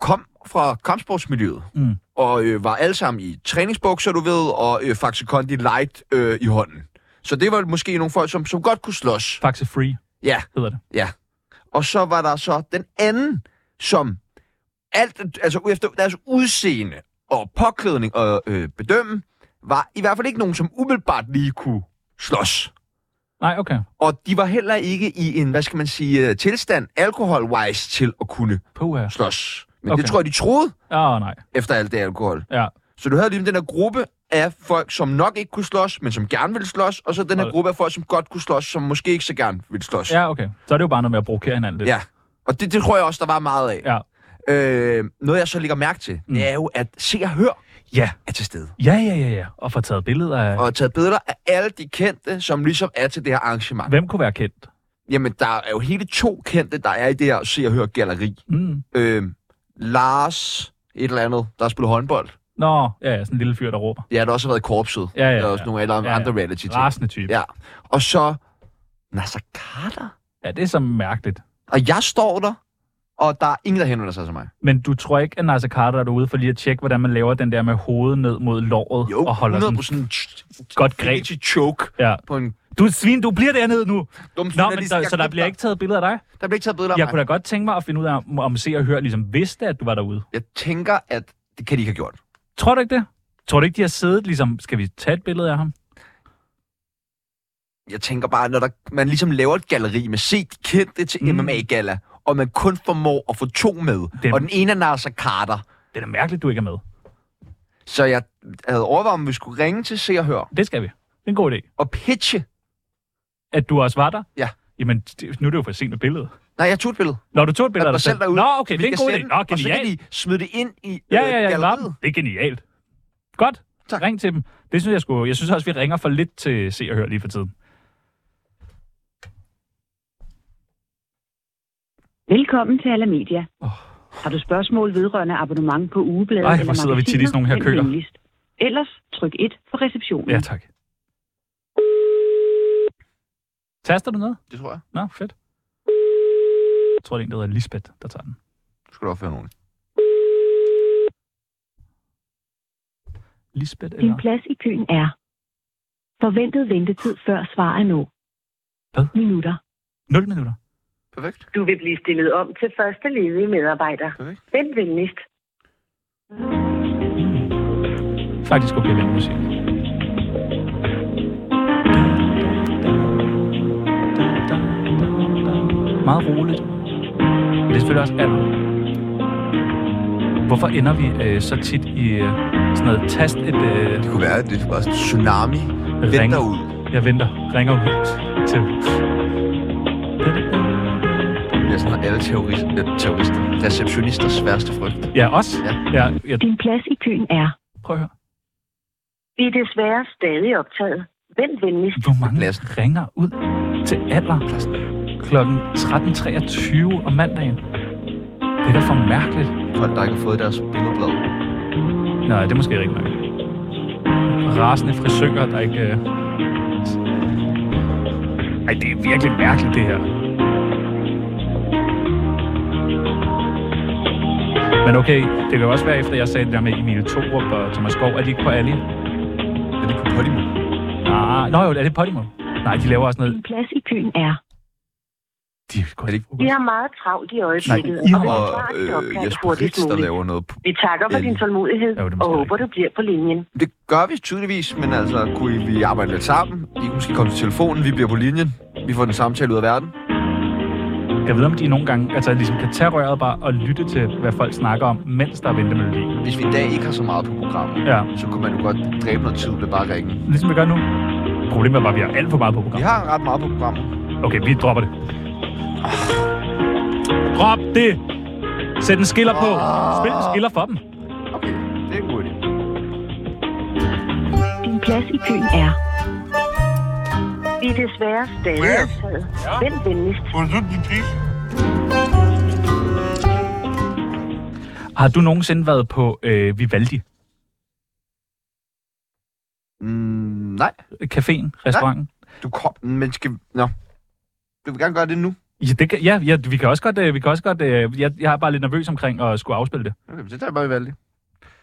[SPEAKER 3] kom fra kampsportsmiljøet.
[SPEAKER 4] Mm.
[SPEAKER 3] Og øh, var alle sammen i træningsbukser, du ved, og øh, Faxe Kondi Light øh, i hånden. Så det var måske nogle folk, som, som godt kunne slås.
[SPEAKER 4] Faxe Free
[SPEAKER 3] Ja,
[SPEAKER 4] hedder det.
[SPEAKER 3] og så var der så den anden, som alt, altså efter deres udseende og påklædning og øh, bedømme, var i hvert fald ikke nogen, som umiddelbart lige kunne slås.
[SPEAKER 4] Nej, okay.
[SPEAKER 3] Og de var heller ikke i en, hvad skal man sige, øh, tilstand alkoholwise til at kunne
[SPEAKER 4] Puha.
[SPEAKER 3] slås. Men
[SPEAKER 4] Okay.
[SPEAKER 3] okay. det tror jeg, de troede
[SPEAKER 4] Åh, oh, nej.
[SPEAKER 3] efter alt det alkohol.
[SPEAKER 4] Ja.
[SPEAKER 3] Så du havde lige den her gruppe af folk, som nok ikke kunne slås, men som gerne ville slås, og så den her
[SPEAKER 4] Hold.
[SPEAKER 3] gruppe af folk, som godt kunne slås, som måske ikke så gerne ville slås.
[SPEAKER 4] Ja, okay. Så er det jo bare noget med at provokere hinanden lidt.
[SPEAKER 3] Ja, og det, det tror jeg også, der var meget af.
[SPEAKER 4] Ja.
[SPEAKER 3] Øh, noget, jeg så lægger mærke til, mm.
[SPEAKER 4] Mm.
[SPEAKER 3] det er jo, at se og hør
[SPEAKER 4] Ja,
[SPEAKER 3] er til stede.
[SPEAKER 4] ja, ja, ja. ja. Og få taget billeder af...
[SPEAKER 3] Og taget billeder af alle de kendte, som ligesom er til det her arrangement.
[SPEAKER 4] Hvem kunne være kendt?
[SPEAKER 3] Jamen, der er jo hele to kendte, der er i det her se og hør galleri.
[SPEAKER 4] Mm.
[SPEAKER 3] Øh, Lars et eller andet, der spiller håndbold.
[SPEAKER 4] Nå, ja, ja, sådan en lille fyr, der råber.
[SPEAKER 3] Ja, der har også været i korpset.
[SPEAKER 4] Ja, ja,
[SPEAKER 3] Der er også
[SPEAKER 4] ja.
[SPEAKER 3] nogle andre,
[SPEAKER 4] Ja, ja.
[SPEAKER 3] andre reality ting.
[SPEAKER 4] Rasende type. Ja.
[SPEAKER 3] Ja. Og så Nasser Carter.
[SPEAKER 4] ja, det er så mærkeligt.
[SPEAKER 3] Og jeg står der, og der er ingen, der henvender sig til mig.
[SPEAKER 4] Men du tror ikke, at Nasser Carter er derude for lige at tjekke, hvordan man laver den der med hovedet ned mod låret
[SPEAKER 3] Jo,
[SPEAKER 4] og holder sådan
[SPEAKER 3] 100%
[SPEAKER 4] godt greb?
[SPEAKER 3] rigtig choke
[SPEAKER 4] Ja.
[SPEAKER 3] på en
[SPEAKER 4] Du er et svin, du bliver dernede nu!
[SPEAKER 3] dum
[SPEAKER 4] Nå, men der, så der bliver ikke taget billeder af dig?
[SPEAKER 3] der bliver ikke taget billeder af
[SPEAKER 4] Jeg
[SPEAKER 3] mig.
[SPEAKER 4] kunne da godt tænke mig at finde ud af, om- om se og høre ligesom vidste, at du var derude.
[SPEAKER 3] Jeg tænker, at det kan de ikke have gjort.
[SPEAKER 4] Tror du ikke det? Tror du ikke, de har siddet ligesom, skal vi tage et billede af ham?
[SPEAKER 3] Jeg tænker bare, når der, man ligesom laver et galeri med se de kendte til mm.
[SPEAKER 4] Mm.
[SPEAKER 3] MMA-gala, og man kun formår at få to med,
[SPEAKER 4] Dem.
[SPEAKER 3] og den ene er Nasser Carter,
[SPEAKER 4] Det er da mærkeligt, du ikke er med.
[SPEAKER 3] så jeg havde overvejet, om vi skulle ringe til Se og Hør
[SPEAKER 4] Det skal vi. Det er en god idé.
[SPEAKER 3] og pitche.
[SPEAKER 4] At du også var der?
[SPEAKER 3] Ja.
[SPEAKER 4] Jamen, det- nu er det jo for sent med billedet.
[SPEAKER 3] Nej, jeg tog et billede.
[SPEAKER 4] Når du tog et billede af
[SPEAKER 3] dig
[SPEAKER 4] dig
[SPEAKER 3] selv
[SPEAKER 4] selv.
[SPEAKER 3] derude.
[SPEAKER 4] Nå, okay, det er
[SPEAKER 3] Vi
[SPEAKER 4] en
[SPEAKER 3] kan
[SPEAKER 4] god idé.
[SPEAKER 3] sende
[SPEAKER 4] Nå,
[SPEAKER 3] den, Og så kan
[SPEAKER 4] genialt.
[SPEAKER 3] de smide det ind i øh,
[SPEAKER 4] Ja, ja, ja, i
[SPEAKER 3] galleriet.
[SPEAKER 4] lappen. Det er genialt. Godt.
[SPEAKER 3] Tak.
[SPEAKER 4] Ring til dem. Det synes jeg sgu. Jeg synes også, vi ringer for lidt til Se og Hør lige for tiden.
[SPEAKER 6] Velkommen til Alamedia.
[SPEAKER 4] Åh.
[SPEAKER 6] Oh. Har du spørgsmål vedrørende abonnement på ugebladet
[SPEAKER 4] Ej, hvor sidder vi tit i sådan nogle her køer.
[SPEAKER 6] List. Ellers tryk 1 for
[SPEAKER 3] Mm.
[SPEAKER 6] receptionen.
[SPEAKER 4] Ja, tak. Taster du noget?
[SPEAKER 3] Det tror jeg.
[SPEAKER 4] Nå, fedt. Jeg tror, det er en, der hedder Lisbeth, der tager den.
[SPEAKER 3] Du skal du opføre nogen.
[SPEAKER 4] Lisbeth
[SPEAKER 7] Din
[SPEAKER 4] eller...
[SPEAKER 7] plads i køen er forventet ventetid før svar er nå.
[SPEAKER 4] Hvad?
[SPEAKER 7] Minutter.
[SPEAKER 4] 0 minutter.
[SPEAKER 3] Perfekt.
[SPEAKER 8] Du vil blive stillet om til første ledige medarbejder.
[SPEAKER 3] Perfekt.
[SPEAKER 8] Vent venligst.
[SPEAKER 4] Faktisk okay, den musik. Meget roligt. Men det er selvfølgelig også alder. Hvorfor ender vi øh, så tit i øh, sådan noget tast et øh,
[SPEAKER 2] Det kunne være, at det var sådan.
[SPEAKER 3] Tsunami
[SPEAKER 4] ring?
[SPEAKER 3] venter ud.
[SPEAKER 4] Jeg venter. Ringer ud til...
[SPEAKER 3] Det er sådan alle terrorist, øh, terrorister. Receptionisters værste frygt.
[SPEAKER 4] Ja, os. Ja, ja,
[SPEAKER 7] Din plads i køen er
[SPEAKER 4] prøv at høre.
[SPEAKER 8] Vi er desværre stadig optaget. Vent venligst.
[SPEAKER 4] Hvor mange
[SPEAKER 3] Pladsen.
[SPEAKER 4] ringer ud til alder klokken 13.23 om mandagen? Det er da for mærkeligt.
[SPEAKER 3] Folk, der ikke har fået deres billedblad.
[SPEAKER 4] Nej, det er måske ikke nok. Rasende frisører, der ikke... Øh... Ej, det er virkelig mærkeligt, det her. Men okay, det kan jo også være, efter jeg sagde det der med Emil Thorup og Thomas Skov, er de ikke på Ali?
[SPEAKER 2] Er det på Podimo?
[SPEAKER 4] Nej, nå jo, er det Podimo? Nej, de laver også noget...
[SPEAKER 7] din plads i køen er
[SPEAKER 4] De er, godt-
[SPEAKER 2] Er det-
[SPEAKER 8] Vi har meget travlt i øjeblikket.
[SPEAKER 2] I
[SPEAKER 8] vil
[SPEAKER 2] og
[SPEAKER 8] svare dit opkald
[SPEAKER 2] øh, Jesper Ritz,
[SPEAKER 8] hurtigst
[SPEAKER 2] der
[SPEAKER 8] muligt.
[SPEAKER 2] laver noget. på-
[SPEAKER 8] Vi takker for din tålmodighed
[SPEAKER 4] Jo, det er måske
[SPEAKER 8] og håber, du bliver på linjen.
[SPEAKER 3] Det gør vi tydeligvis, men altså, kunne I- vi arbejde lidt sammen? I kunne måske komme til telefonen, vi bliver på linjen. Vi får den samtale ud af verden.
[SPEAKER 4] Jeg ved, om de nogle gange altså, ligesom kan tage røret bare og lytte til, hvad folk snakker om, mens der er ventemelodi.
[SPEAKER 3] Hvis vi i dag ikke har så meget på programmet,
[SPEAKER 4] Ja,
[SPEAKER 3] så kunne man jo godt dræbe noget tid ved bare at ringe.
[SPEAKER 4] ligesom vi gør nu. Problemet er bare, at vi har alt for meget på
[SPEAKER 3] Vi
[SPEAKER 4] programmet.
[SPEAKER 3] har ret meget på programmet.
[SPEAKER 4] Okay, vi dropper det. Drop det! Sæt en skiller på. Spil en skiller for dem.
[SPEAKER 3] Okay, det er en god idé.
[SPEAKER 7] din plads i køen er
[SPEAKER 8] Vi er desværre stadig optaget. Vent venligst.
[SPEAKER 4] Har du nogensinde været på øh, Vivaldi?
[SPEAKER 3] Mm, nej,
[SPEAKER 4] Caféen? Restauranten?
[SPEAKER 3] du kom, men skal... Nå. Du vil gerne gøre det nu.
[SPEAKER 4] Ja, det kan, ja, ja, vi kan også godt... Øh, vi kan også godt øh, jeg, jeg er bare lidt nervøs omkring at skulle afspille det.
[SPEAKER 3] Okay, men det tager jeg bare Vivaldi.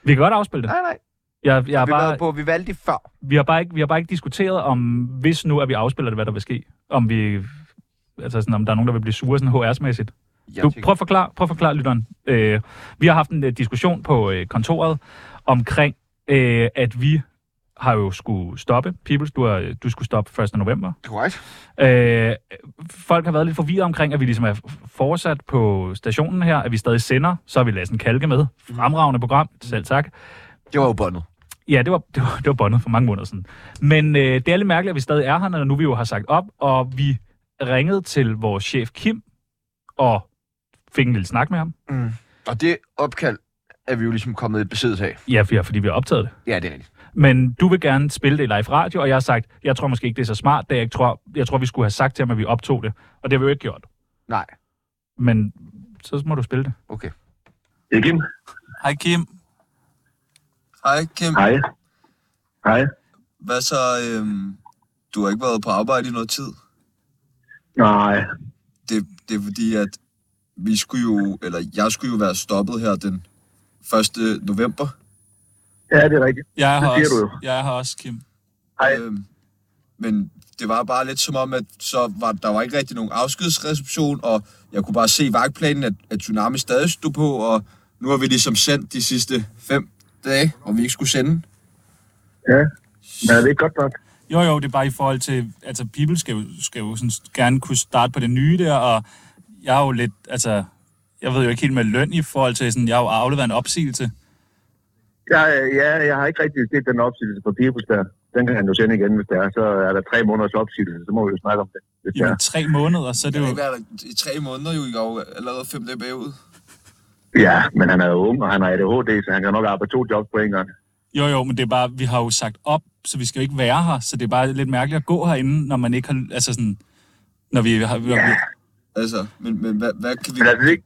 [SPEAKER 4] Vi kan godt afspille det.
[SPEAKER 3] Nej, nej.
[SPEAKER 4] Jeg, jeg er
[SPEAKER 3] Vi har
[SPEAKER 4] bare,
[SPEAKER 3] været på Vivaldi før.
[SPEAKER 4] vi, har bare ikke, vi har bare ikke diskuteret om, hvis nu at vi afspiller det, hvad der vil ske. Om vi... Altså sådan, om der er nogen, der vil blive sure sådan HR's-mæssigt.
[SPEAKER 3] Jeg
[SPEAKER 4] Du,
[SPEAKER 3] tænker-
[SPEAKER 4] prøv at forklare, prøv at forklare lytteren. Øh, vi har haft en øh, diskussion på øh, kontoret omkring, øh, at vi har jo skulle stoppe. Peoples, du, har, øh, du skulle stoppe 1. november.
[SPEAKER 3] Korrekt.
[SPEAKER 4] Øh, folk har været lidt forvirret omkring, at vi ligesom er f- fortsat på stationen her, at vi stadig sender, så har vi Lassen Kalke med. Fremragende program, selv tak.
[SPEAKER 3] Det var jo båndet.
[SPEAKER 4] Ja, det var, det var, det var bondet for mange måneder siden. Men øh, det er lidt mærkeligt, at vi stadig er her, når nu vi jo har sagt op, og vi ringede til vores chef Kim, og fik en lille snak med ham.
[SPEAKER 9] Mm. Og det opkald er vi jo ligesom kommet i besiddelse af.
[SPEAKER 4] Ja, for- ja, fordi vi har optaget det.
[SPEAKER 9] Ja, det er rigtigt.
[SPEAKER 4] Men du vil gerne spille det i live radio, og jeg har sagt, jeg tror måske ikke, det er så smart, da jeg ikke tror, jeg tror, vi skulle have sagt til ham, at vi optog det. Og det har vi jo ikke gjort.
[SPEAKER 9] Nej.
[SPEAKER 4] Men så må du spille det.
[SPEAKER 9] Okay.
[SPEAKER 10] Det er Kim.
[SPEAKER 11] Hej Kim.
[SPEAKER 3] Hej, Kim.
[SPEAKER 10] Hej. Hej.
[SPEAKER 3] Hvad så? Øhm, du har ikke været på arbejde i noget tid.
[SPEAKER 10] Nej.
[SPEAKER 3] Det, det er fordi, at vi skulle jo, eller jeg skulle jo være stoppet her den 1. november.
[SPEAKER 10] Ja, det er rigtigt.
[SPEAKER 11] Jeg er
[SPEAKER 10] det
[SPEAKER 11] her
[SPEAKER 10] siger du jo.
[SPEAKER 11] også. Jeg er her også, Kim.
[SPEAKER 10] Hej.
[SPEAKER 3] Øhm, men det var bare lidt som om, at så var, der var ikke rigtig nogen afskedsreception, og jeg kunne bare se i vagtplanen, at, at Tsunami stadig stod på, og nu har vi ligesom sendt de sidste fem dage, og vi ikke skulle sende.
[SPEAKER 10] Ja. Men er det ikke godt nok?
[SPEAKER 11] Jo, jo, det er bare i forhold til... Altså, People skal jo, skal jo sådan, gerne kunne starte på det nye der, og jeg er jo lidt... Altså, jeg ved jo ikke helt med løn i forhold til sådan... Jeg har jo afleveret en opsigelse.
[SPEAKER 10] Ja, ja, jeg har ikke rigtig set den opsigelse på Pibus der. Den kan han jo sende igen, hvis det er. Så er der tre måneders opsigelse, så må vi jo snakke om det. Hvis det,
[SPEAKER 11] I
[SPEAKER 10] er.
[SPEAKER 11] tre måneder, så er det
[SPEAKER 3] Det har
[SPEAKER 11] jo...
[SPEAKER 3] ikke været der i tre måneder jo, jeg er jo allerede fem dage bagud.
[SPEAKER 10] Ja, men han er jo ung, og han har ADHD, så han kan nok arbejde to jobs på en gang.
[SPEAKER 11] Jo, jo, men det er bare... Vi har jo sagt op, så vi skal jo ikke være her. Så det er bare lidt mærkeligt at gå herinde, når man ikke har... Altså sådan... Når vi har... Når vi,
[SPEAKER 3] Altså, men, men hvad, hvad kan vi...
[SPEAKER 10] Men altså, det,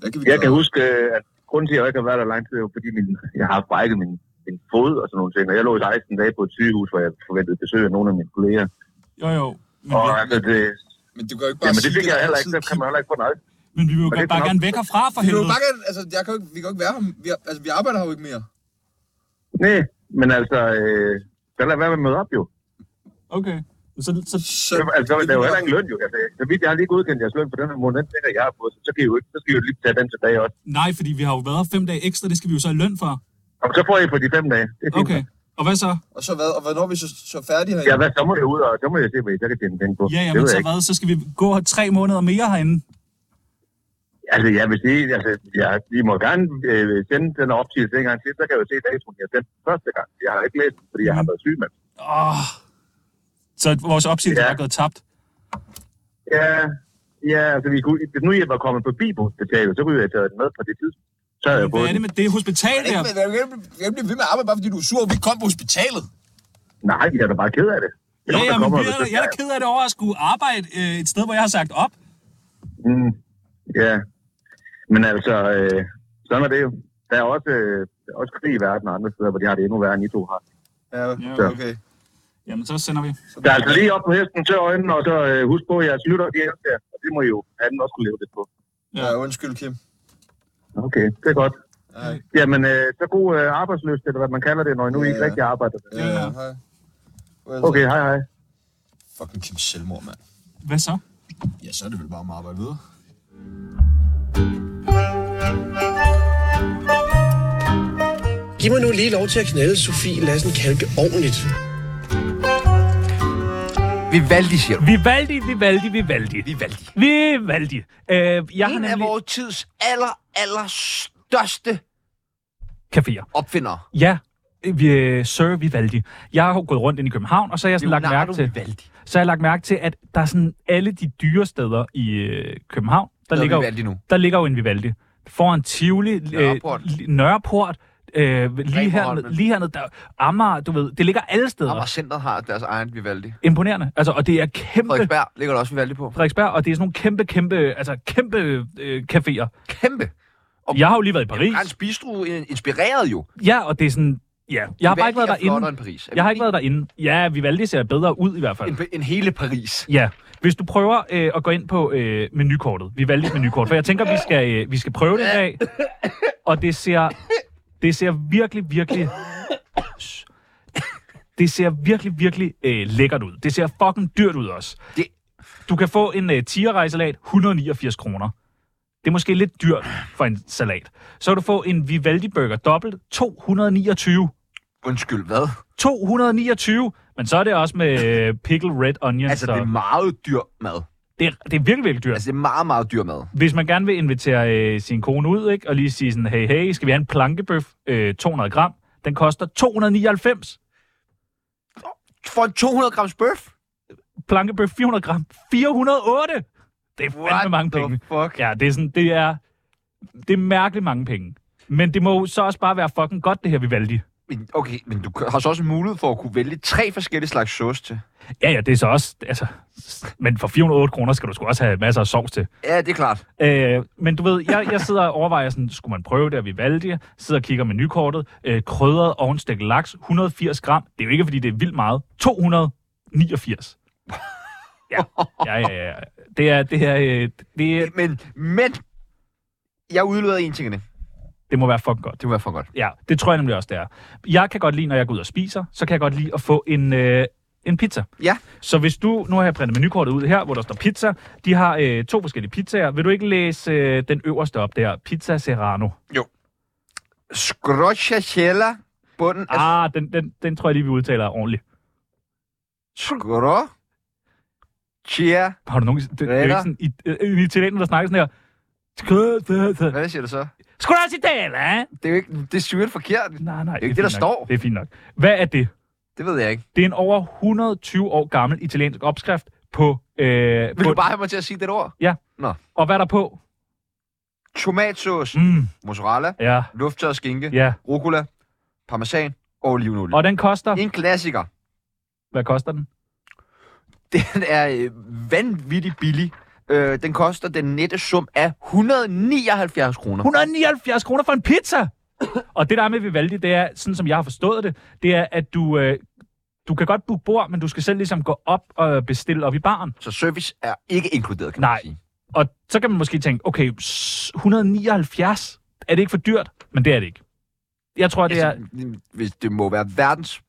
[SPEAKER 3] Hvad kan vi
[SPEAKER 10] jeg kan
[SPEAKER 3] gøre?
[SPEAKER 10] huske, at grunden til, at jeg ikke har været der lang tid, er jo fordi min, jeg har brækket min, min fod og sådan nogle ting. Og jeg lå i 16 dage på et sygehus, hvor jeg forventede besøg af nogle af mine kolleger.
[SPEAKER 11] jo, jo. Men
[SPEAKER 10] Og
[SPEAKER 11] vi,
[SPEAKER 10] altså, det,
[SPEAKER 3] Men du kan jo ikke bare
[SPEAKER 10] jamen, det
[SPEAKER 3] sige,
[SPEAKER 10] fik jeg
[SPEAKER 3] er
[SPEAKER 10] heller ikke.
[SPEAKER 3] altid
[SPEAKER 10] Så kan man heller ikke få noget.
[SPEAKER 11] men vi vil jo
[SPEAKER 10] det er
[SPEAKER 11] godt bare
[SPEAKER 10] nok-
[SPEAKER 11] gerne væk herfra, for
[SPEAKER 3] Vi kan jo
[SPEAKER 11] helvede.
[SPEAKER 3] bare gerne, altså, jeg kan jo ikke, vi kan jo ikke være her. Vi, har- altså, vi arbejder her jo ikke mere.
[SPEAKER 10] Nej, men altså, øh, så lad være med at møde op jo.
[SPEAKER 11] Okay. Så, så,
[SPEAKER 3] Så,
[SPEAKER 10] Altså, der er jo heller ingen løn jo. Altså, så vidt jeg har lige godkendt jeres løn for den her måned, den tænker jeg har fået, så, så kan I jo ikke, så skal I jo lige tage den tilbage også.
[SPEAKER 11] nej, fordi vi har jo været her fem dage ekstra. Det skal vi jo så have løn for.
[SPEAKER 10] Og så får I på de fem dage. Det er fint.
[SPEAKER 11] Okay. Og hvad så?
[SPEAKER 3] Og så hvad? Og hvornår er vi så, så færdige her?
[SPEAKER 10] Ja, hvad, så må det ud, og så må jeg se, hvad I så kan tjene penge på.
[SPEAKER 11] Ja, ja,
[SPEAKER 10] det
[SPEAKER 11] men
[SPEAKER 10] ved
[SPEAKER 11] så
[SPEAKER 10] jeg ikke.
[SPEAKER 11] hvad? Så skal vi gå her tre måneder mere herinde.
[SPEAKER 10] Altså, jeg vil sige, altså, ja, I må gerne øh, sende den opsigelse en gang til, så kan jeg jo se datoen, jeg sendte den første gang. Jeg har ikke læst den, fordi jeg
[SPEAKER 11] Mhm.
[SPEAKER 10] har været syg, men...
[SPEAKER 11] Oh. Så vores opsigelse
[SPEAKER 10] Ja.
[SPEAKER 11] ja. er gået tabt.
[SPEAKER 10] Ja, ja, altså, vi kunne, hvis nu jeg var kommet forbi på hospitalet, så kunne jeg have taget den med på det tidspunkt. Så havde jeg
[SPEAKER 11] Hvad
[SPEAKER 10] fået
[SPEAKER 11] er
[SPEAKER 10] den.
[SPEAKER 11] det med det hospital
[SPEAKER 3] Det er
[SPEAKER 11] der?
[SPEAKER 3] ikke- Jeg kan ikke blive- jeg kan ikke blive ved med at arbejde, bare fordi du er sur, og vi kom på hospitalet.
[SPEAKER 10] Nej, jeg er da bare ked af det. Det
[SPEAKER 11] Ja,
[SPEAKER 10] er nogen, der
[SPEAKER 11] ja, men
[SPEAKER 10] kommer
[SPEAKER 11] vi
[SPEAKER 10] og
[SPEAKER 11] er,
[SPEAKER 10] så
[SPEAKER 11] da- jeg er da ked af det over at skulle arbejde øh, et sted, hvor jeg har sagt op.
[SPEAKER 10] Mm, ja. Men altså, øh, sådan er det jo. Der er også, øh, der er også krig i verden og andre steder, hvor de har det endnu værre, end I to har.
[SPEAKER 3] Ja,
[SPEAKER 10] Så.
[SPEAKER 3] okay.
[SPEAKER 11] Jamen, så sender vi.
[SPEAKER 10] Der er altså lige op på hesten til øjnene, og så øh, husk på, at jeres lytter, de elsker jer. Og det må I jo have den også kunne leve lidt på.
[SPEAKER 3] Ja, undskyld, Kim.
[SPEAKER 10] Okay, det er godt.
[SPEAKER 3] Hej.
[SPEAKER 10] Jamen, øh, så god øh, arbejdsløst, eller hvad man kalder det, når I nu
[SPEAKER 3] Ja,
[SPEAKER 10] ikke
[SPEAKER 3] ja.
[SPEAKER 10] rigtig arbejder.
[SPEAKER 3] Ja,
[SPEAKER 11] Ja.
[SPEAKER 3] hej. Well,
[SPEAKER 10] Okay, hej hej.
[SPEAKER 3] Fucking Kim selvmord, mand.
[SPEAKER 11] Hvad så?
[SPEAKER 3] Ja, så er det vel bare om at arbejde videre.
[SPEAKER 12] Giv mig nu lige lov til at knalde Sofie Lassen Kalke ordentligt.
[SPEAKER 9] Vi valgte, siger du.
[SPEAKER 4] Vi valgte, vi valgte, vi valgte.
[SPEAKER 9] Vi valgte.
[SPEAKER 4] Vi valgte. Øh, jeg har
[SPEAKER 9] En af
[SPEAKER 4] nemlig...
[SPEAKER 9] vores tids aller, aller største
[SPEAKER 4] Caféer.
[SPEAKER 9] opfindere.
[SPEAKER 4] Ja, vi, øh, Sir Vivaldi. Jeg har jo gået rundt ind i København, og så har jeg sådan lagt mærke til,
[SPEAKER 9] Vivaldi.
[SPEAKER 4] så har jeg lagt mærke til, at der er sådan alle de dyre steder i øh, København, der
[SPEAKER 9] Der
[SPEAKER 4] ligger,
[SPEAKER 9] ligger
[SPEAKER 4] jo,
[SPEAKER 9] Vivaldi nu.
[SPEAKER 4] der ligger jo en Vivaldi. Foran Tivoli, øh,
[SPEAKER 9] Nørreport.
[SPEAKER 4] li- Nørreport, øh, lige, her,
[SPEAKER 9] Bremerholmen.
[SPEAKER 4] lige hernede, der, Amager, du ved, det ligger alle steder.
[SPEAKER 9] Amager Center har deres egen Vivaldi.
[SPEAKER 4] Imponerende. Altså, og det er kæmpe...
[SPEAKER 9] Frederiksberg ligger der også Vivaldi på.
[SPEAKER 4] Frederiksberg, og det er sådan nogle kæmpe, kæmpe, altså kæmpe øh, caféer.
[SPEAKER 9] Kæmpe. Og-
[SPEAKER 4] Jeg har jo lige været i Paris.
[SPEAKER 9] Hans Bistro in- inspireret jo.
[SPEAKER 4] Ja, og det er sådan... Ja, jeg har bare ikke været
[SPEAKER 9] Vivaldi er flottere
[SPEAKER 4] derinde.
[SPEAKER 9] end Paris. Er
[SPEAKER 4] Jeg har
[SPEAKER 9] vi
[SPEAKER 4] ikke været derinde. Ja, Vivaldi ser bedre ud i hvert fald.
[SPEAKER 9] enige? en, en hele Paris.
[SPEAKER 4] Ja, hvis du prøver øh, at gå ind på øh, menukortet. Vi valgte et menukort, for jeg tænker, vi skal, øh, vi skal prøve det i dag. Og det ser, det ser virkelig, virkelig... Det ser virkelig, virkelig øh, lækkert ud. Det ser fucking dyrt ud også.
[SPEAKER 9] Det-
[SPEAKER 4] Du kan få en øh, tigerrejsalat, 189 kroner. Det er måske lidt dyrt for en salat. Så kan du få en Vivaldi Burger dobbelt, 229.
[SPEAKER 9] Undskyld, hvad?
[SPEAKER 4] 229! Men så er det også med øh, pickle red onion.
[SPEAKER 9] Altså,
[SPEAKER 4] så...
[SPEAKER 9] det er meget dyr mad.
[SPEAKER 4] Det er, det er virkelig, virkelig dyrt.
[SPEAKER 9] Altså, det er meget, meget dyr mad.
[SPEAKER 4] Hvis man gerne vil invitere øh, sin kone ud, ikke, og lige sige sådan, hey, hey, skal vi have en plankebøf, øh, 200 gram? Den koster 299.
[SPEAKER 3] For en 200 grams bøf?
[SPEAKER 4] Plankebøf 400 gram. 408! Det er fandme mange penge.
[SPEAKER 3] Fuck.
[SPEAKER 4] Ja, det er, sådan, det, er, det er mærkeligt mange penge. Men det må jo så også bare være fucking godt, det her Vivaldi.
[SPEAKER 3] Men, okay, men du har så også en mulighed for at kunne vælge tre forskellige slags sauce til.
[SPEAKER 4] Ja, ja, det er så også... Altså, men for 408 kroner skal du sgu også have masser af sovs til.
[SPEAKER 3] Ja, det er klart.
[SPEAKER 4] Øh, men du ved, jeg, jeg sidder og overvejer sådan, skulle man prøve det, at vi valgte det? Sidder og kigger menukortet. Øh, krydret ovnstegt laks, 180 gram. Det er jo ikke, fordi det er vildt meget. 289. Ja, ja, ja, ja. ja. Det er, det er, øh, det er,
[SPEAKER 3] Men, men, jeg udleder en ting af det.
[SPEAKER 4] det må være fucking godt.
[SPEAKER 3] Det var for godt.
[SPEAKER 4] Ja, det tror jeg nemlig også, det er. Jeg kan godt lide, når jeg går ud og spiser, så kan jeg godt lide at få en, øh, en pizza.
[SPEAKER 3] Ja.
[SPEAKER 4] Så hvis du, nu har jeg printet menukortet ud her, hvor der står pizza. De har øh, to forskellige pizzaer. Vil du ikke læse øh, den øverste op der? Pizza Serrano.
[SPEAKER 3] Scrocciatella, bunden af...
[SPEAKER 4] Ah, den, den, den tror jeg lige, vi udtaler ordentligt.
[SPEAKER 3] Scro... Chia...
[SPEAKER 4] Har du nogen... Det, det er jo ikke sådan, i, øh, en italiener, der snakker sådan her. Scrocciatella.
[SPEAKER 3] Hvad siger du så?
[SPEAKER 4] Scrocciatella, eh?
[SPEAKER 3] Det er jo ikke... Det er sygt forkert.
[SPEAKER 4] Nej, nej.
[SPEAKER 3] Det er ikke det, der
[SPEAKER 4] fint nok.
[SPEAKER 3] står.
[SPEAKER 4] Det er fint nok. Hvad er det?
[SPEAKER 3] Det ved jeg ikke.
[SPEAKER 4] Det er en over 120 år gammel italiensk opskrift på... Øh,
[SPEAKER 3] Vil
[SPEAKER 4] på
[SPEAKER 3] du bare have mig til at sige det ord?
[SPEAKER 4] Og hvad er der på?
[SPEAKER 3] Tomatsauce,
[SPEAKER 4] Mm,
[SPEAKER 3] mozzarella,
[SPEAKER 4] ja,
[SPEAKER 3] lufttørret skinke,
[SPEAKER 4] ja.
[SPEAKER 3] rucola, parmesan og olivenolie.
[SPEAKER 4] Og den koster...
[SPEAKER 3] En klassiker.
[SPEAKER 4] Hvad koster den?
[SPEAKER 3] Den er øh, vanvittigt billig. Øh, den koster den nette sum af 179 kroner.
[SPEAKER 4] 179 kroner for en pizza! og det der er med Vivaldi, det er, sådan som jeg har forstået det, det er, at du, øh, du kan godt booke bord, men du skal selv ligesom gå op og bestille op i baren.
[SPEAKER 3] Så service er ikke inkluderet, kan
[SPEAKER 4] Nej.
[SPEAKER 3] man sige.
[SPEAKER 4] Og så kan man måske tænke, okay, s- 179, er det ikke for dyrt? Men det er det ikke. Jeg tror, det er...
[SPEAKER 3] Altså, hvis det må være verdens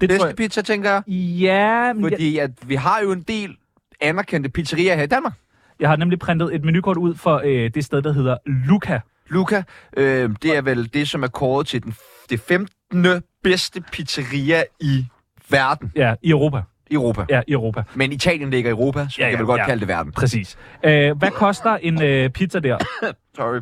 [SPEAKER 4] Det tror
[SPEAKER 3] bedste
[SPEAKER 4] jeg,
[SPEAKER 3] pizza, tænker jeg.
[SPEAKER 4] ja, men jeg,
[SPEAKER 3] Fordi at vi har jo en del anerkendte pizzerier her i Danmark.
[SPEAKER 4] jeg har nemlig printet et menukort ud for øh, det sted, der hedder Luca.
[SPEAKER 3] Luca, øh, det er vel det, som er kåret til den, f- det 15. bedste pizzeria i verden,
[SPEAKER 4] Ja, i Europa.
[SPEAKER 3] i Europa.
[SPEAKER 4] Ja, i Europa.
[SPEAKER 3] Men Italien ligger i Europa, så
[SPEAKER 4] Ja,
[SPEAKER 3] ja, kan
[SPEAKER 4] ja,
[SPEAKER 3] vel godt
[SPEAKER 4] ja.
[SPEAKER 3] kalde det verden.
[SPEAKER 4] Præcis. Øh, hvad koster en øh, pizza der?
[SPEAKER 3] Sorry.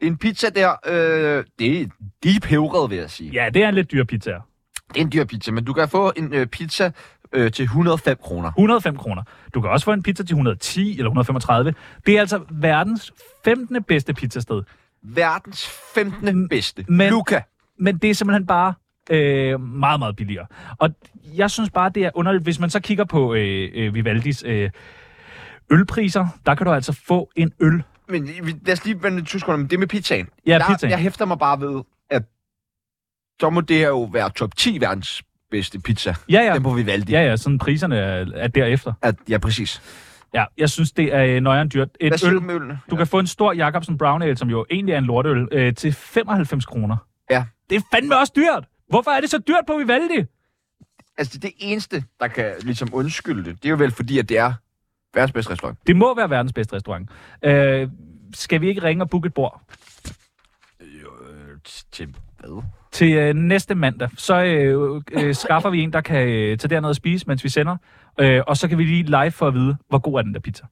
[SPEAKER 3] En pizza der, øh, det er de pebrede, vil jeg sige.
[SPEAKER 4] Ja, det er en lidt dyr pizza.
[SPEAKER 3] Det er en dyr pizza, men du kan få en øh, pizza øh, til 105 kroner.
[SPEAKER 4] 105 kroner. Du kan også få en pizza til 110 eller 135. Det er altså verdens 15. bedste pizzasted.
[SPEAKER 3] Verdens 15. bedste.
[SPEAKER 4] men-
[SPEAKER 3] Luca.
[SPEAKER 4] Men det er simpelthen bare øh, meget, meget billigere. Og jeg synes bare, det er underligt. Hvis man så kigger på øh, øh, Vivaldis øh, ølpriser, der kan du altså få en øl.
[SPEAKER 3] Men vi- lad os lige vende to sekunder, men det med pizzaen.
[SPEAKER 4] Ja,
[SPEAKER 3] jeg,
[SPEAKER 4] pizzaen.
[SPEAKER 3] Jeg hæfter mig bare ved, at så må det her jo være top 10 verdens bedste pizza.
[SPEAKER 4] Ja, ja.
[SPEAKER 3] Den må vi valgte.
[SPEAKER 4] Ja, ja, sådan priserne er, er derefter.
[SPEAKER 3] At, ja, præcis.
[SPEAKER 4] Ja, jeg synes, det er øh, nøjeren dyrt. Et
[SPEAKER 3] Hvad siger du
[SPEAKER 4] øl,
[SPEAKER 3] med ølene?
[SPEAKER 4] du kan få en stor Jacobsen Brown Ale, som jo egentlig er en lorteøl, øh, til 95 kroner.
[SPEAKER 3] Ja.
[SPEAKER 4] Det er fandme også dyrt! Hvorfor er det så dyrt på Vivaldi?
[SPEAKER 3] Altså, det eneste, der kan ligesom undskylde det, det er jo vel fordi, at det er verdens bedste restaurant.
[SPEAKER 4] Det må være verdens bedste restaurant. Øh, skal vi ikke ringe og booke et bord
[SPEAKER 3] Øh, til hvad?
[SPEAKER 4] til øh, næste mandag? Så øh, øh, skaffer vi en, der kan øh, tage derned og spise, mens vi sender. Øh, og så kan vi lige live for at vide, hvor god er den der pizza.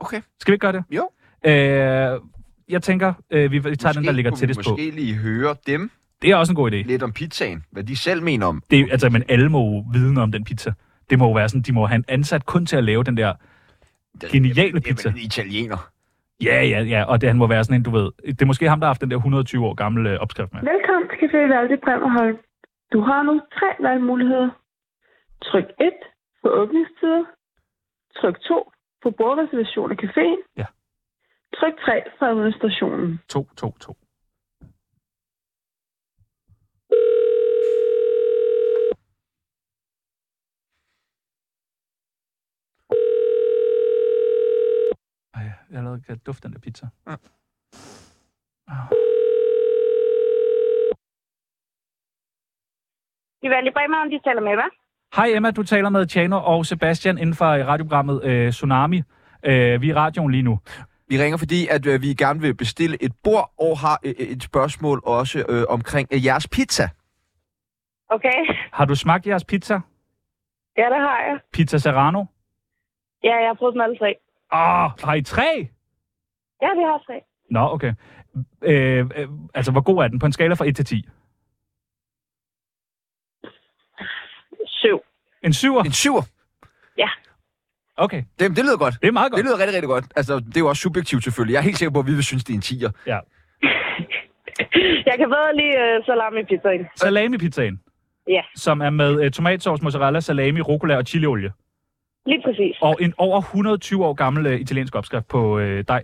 [SPEAKER 3] Okay.
[SPEAKER 4] Skal vi ikke gøre det?
[SPEAKER 3] Jo.
[SPEAKER 4] Øh, jeg tænker, øh, vi, vi tager den, der ligger
[SPEAKER 3] kunne vi
[SPEAKER 4] tættest på.
[SPEAKER 3] Måske lige høre dem
[SPEAKER 4] Det er også en god idé.
[SPEAKER 3] lidt om pizzaen, hvad de selv mener om.
[SPEAKER 4] Det, er- altså, men alle må jo vide om den pizza. Det må jo være sådan, de må have en ansat kun til at lave den der geniale pizza.
[SPEAKER 3] Jamen, en italiener.
[SPEAKER 4] Ja, ja, ja, og det, han må være sådan en, du ved. Det er måske ham, der har haft den der 120 år gamle øh, opskrift med.
[SPEAKER 8] Velkommen til Café Valde Bremerholm. Du har nu tre valgmuligheder. Tryk 1 for åbningstider. Tryk 2 for bordreservation af caféen.
[SPEAKER 4] Ja.
[SPEAKER 8] Tryk 3 for administrationen.
[SPEAKER 4] 2, 2, 2. Ej, jeg allerede kan dufte den der pizza. Ja.
[SPEAKER 13] I Valde Bremerholm, de taler med, hvad?
[SPEAKER 4] Hej Emma, du taler med Tjano og Sebastian inden for radioprogrammet øh, Tsunami. Øh, vi er i radioen lige nu.
[SPEAKER 3] Vi ringer, fordi at øh, vi gerne vil bestille et bord og har øh, et spørgsmål også øh, omkring øh, jeres pizza.
[SPEAKER 13] Okay.
[SPEAKER 4] Har du smagt jeres pizza?
[SPEAKER 13] Ja, det har jeg.
[SPEAKER 4] Pizza Serrano?
[SPEAKER 13] Ja, jeg har prøvet dem alle tre.
[SPEAKER 4] Åh, oh, har I tre?
[SPEAKER 13] Ja, vi har tre.
[SPEAKER 4] Nå, okay. Øh, øh, altså, hvor god er den på en skala fra 1 til 10?
[SPEAKER 13] syv.
[SPEAKER 4] En syver?
[SPEAKER 3] En syver?
[SPEAKER 13] Ja.
[SPEAKER 4] Okay.
[SPEAKER 3] Det, det lyder godt.
[SPEAKER 4] Det er meget godt.
[SPEAKER 3] Det lyder rigtig, rigtig godt. Altså, det er jo også subjektivt selvfølgelig. Jeg er helt sikker på, at vi vil synes, det er en 10'er.
[SPEAKER 4] Ja.
[SPEAKER 13] Jeg kan bedre lide øh, salami-pizzaen.
[SPEAKER 4] Salami-pizzaen,
[SPEAKER 13] Ja,
[SPEAKER 4] som er med øh, tomatsauce, mozzarella, salami, rucola og chiliolie.
[SPEAKER 13] lige præcis.
[SPEAKER 4] Og en over 120 år gammel øh, italiensk opskrift på øh, dej.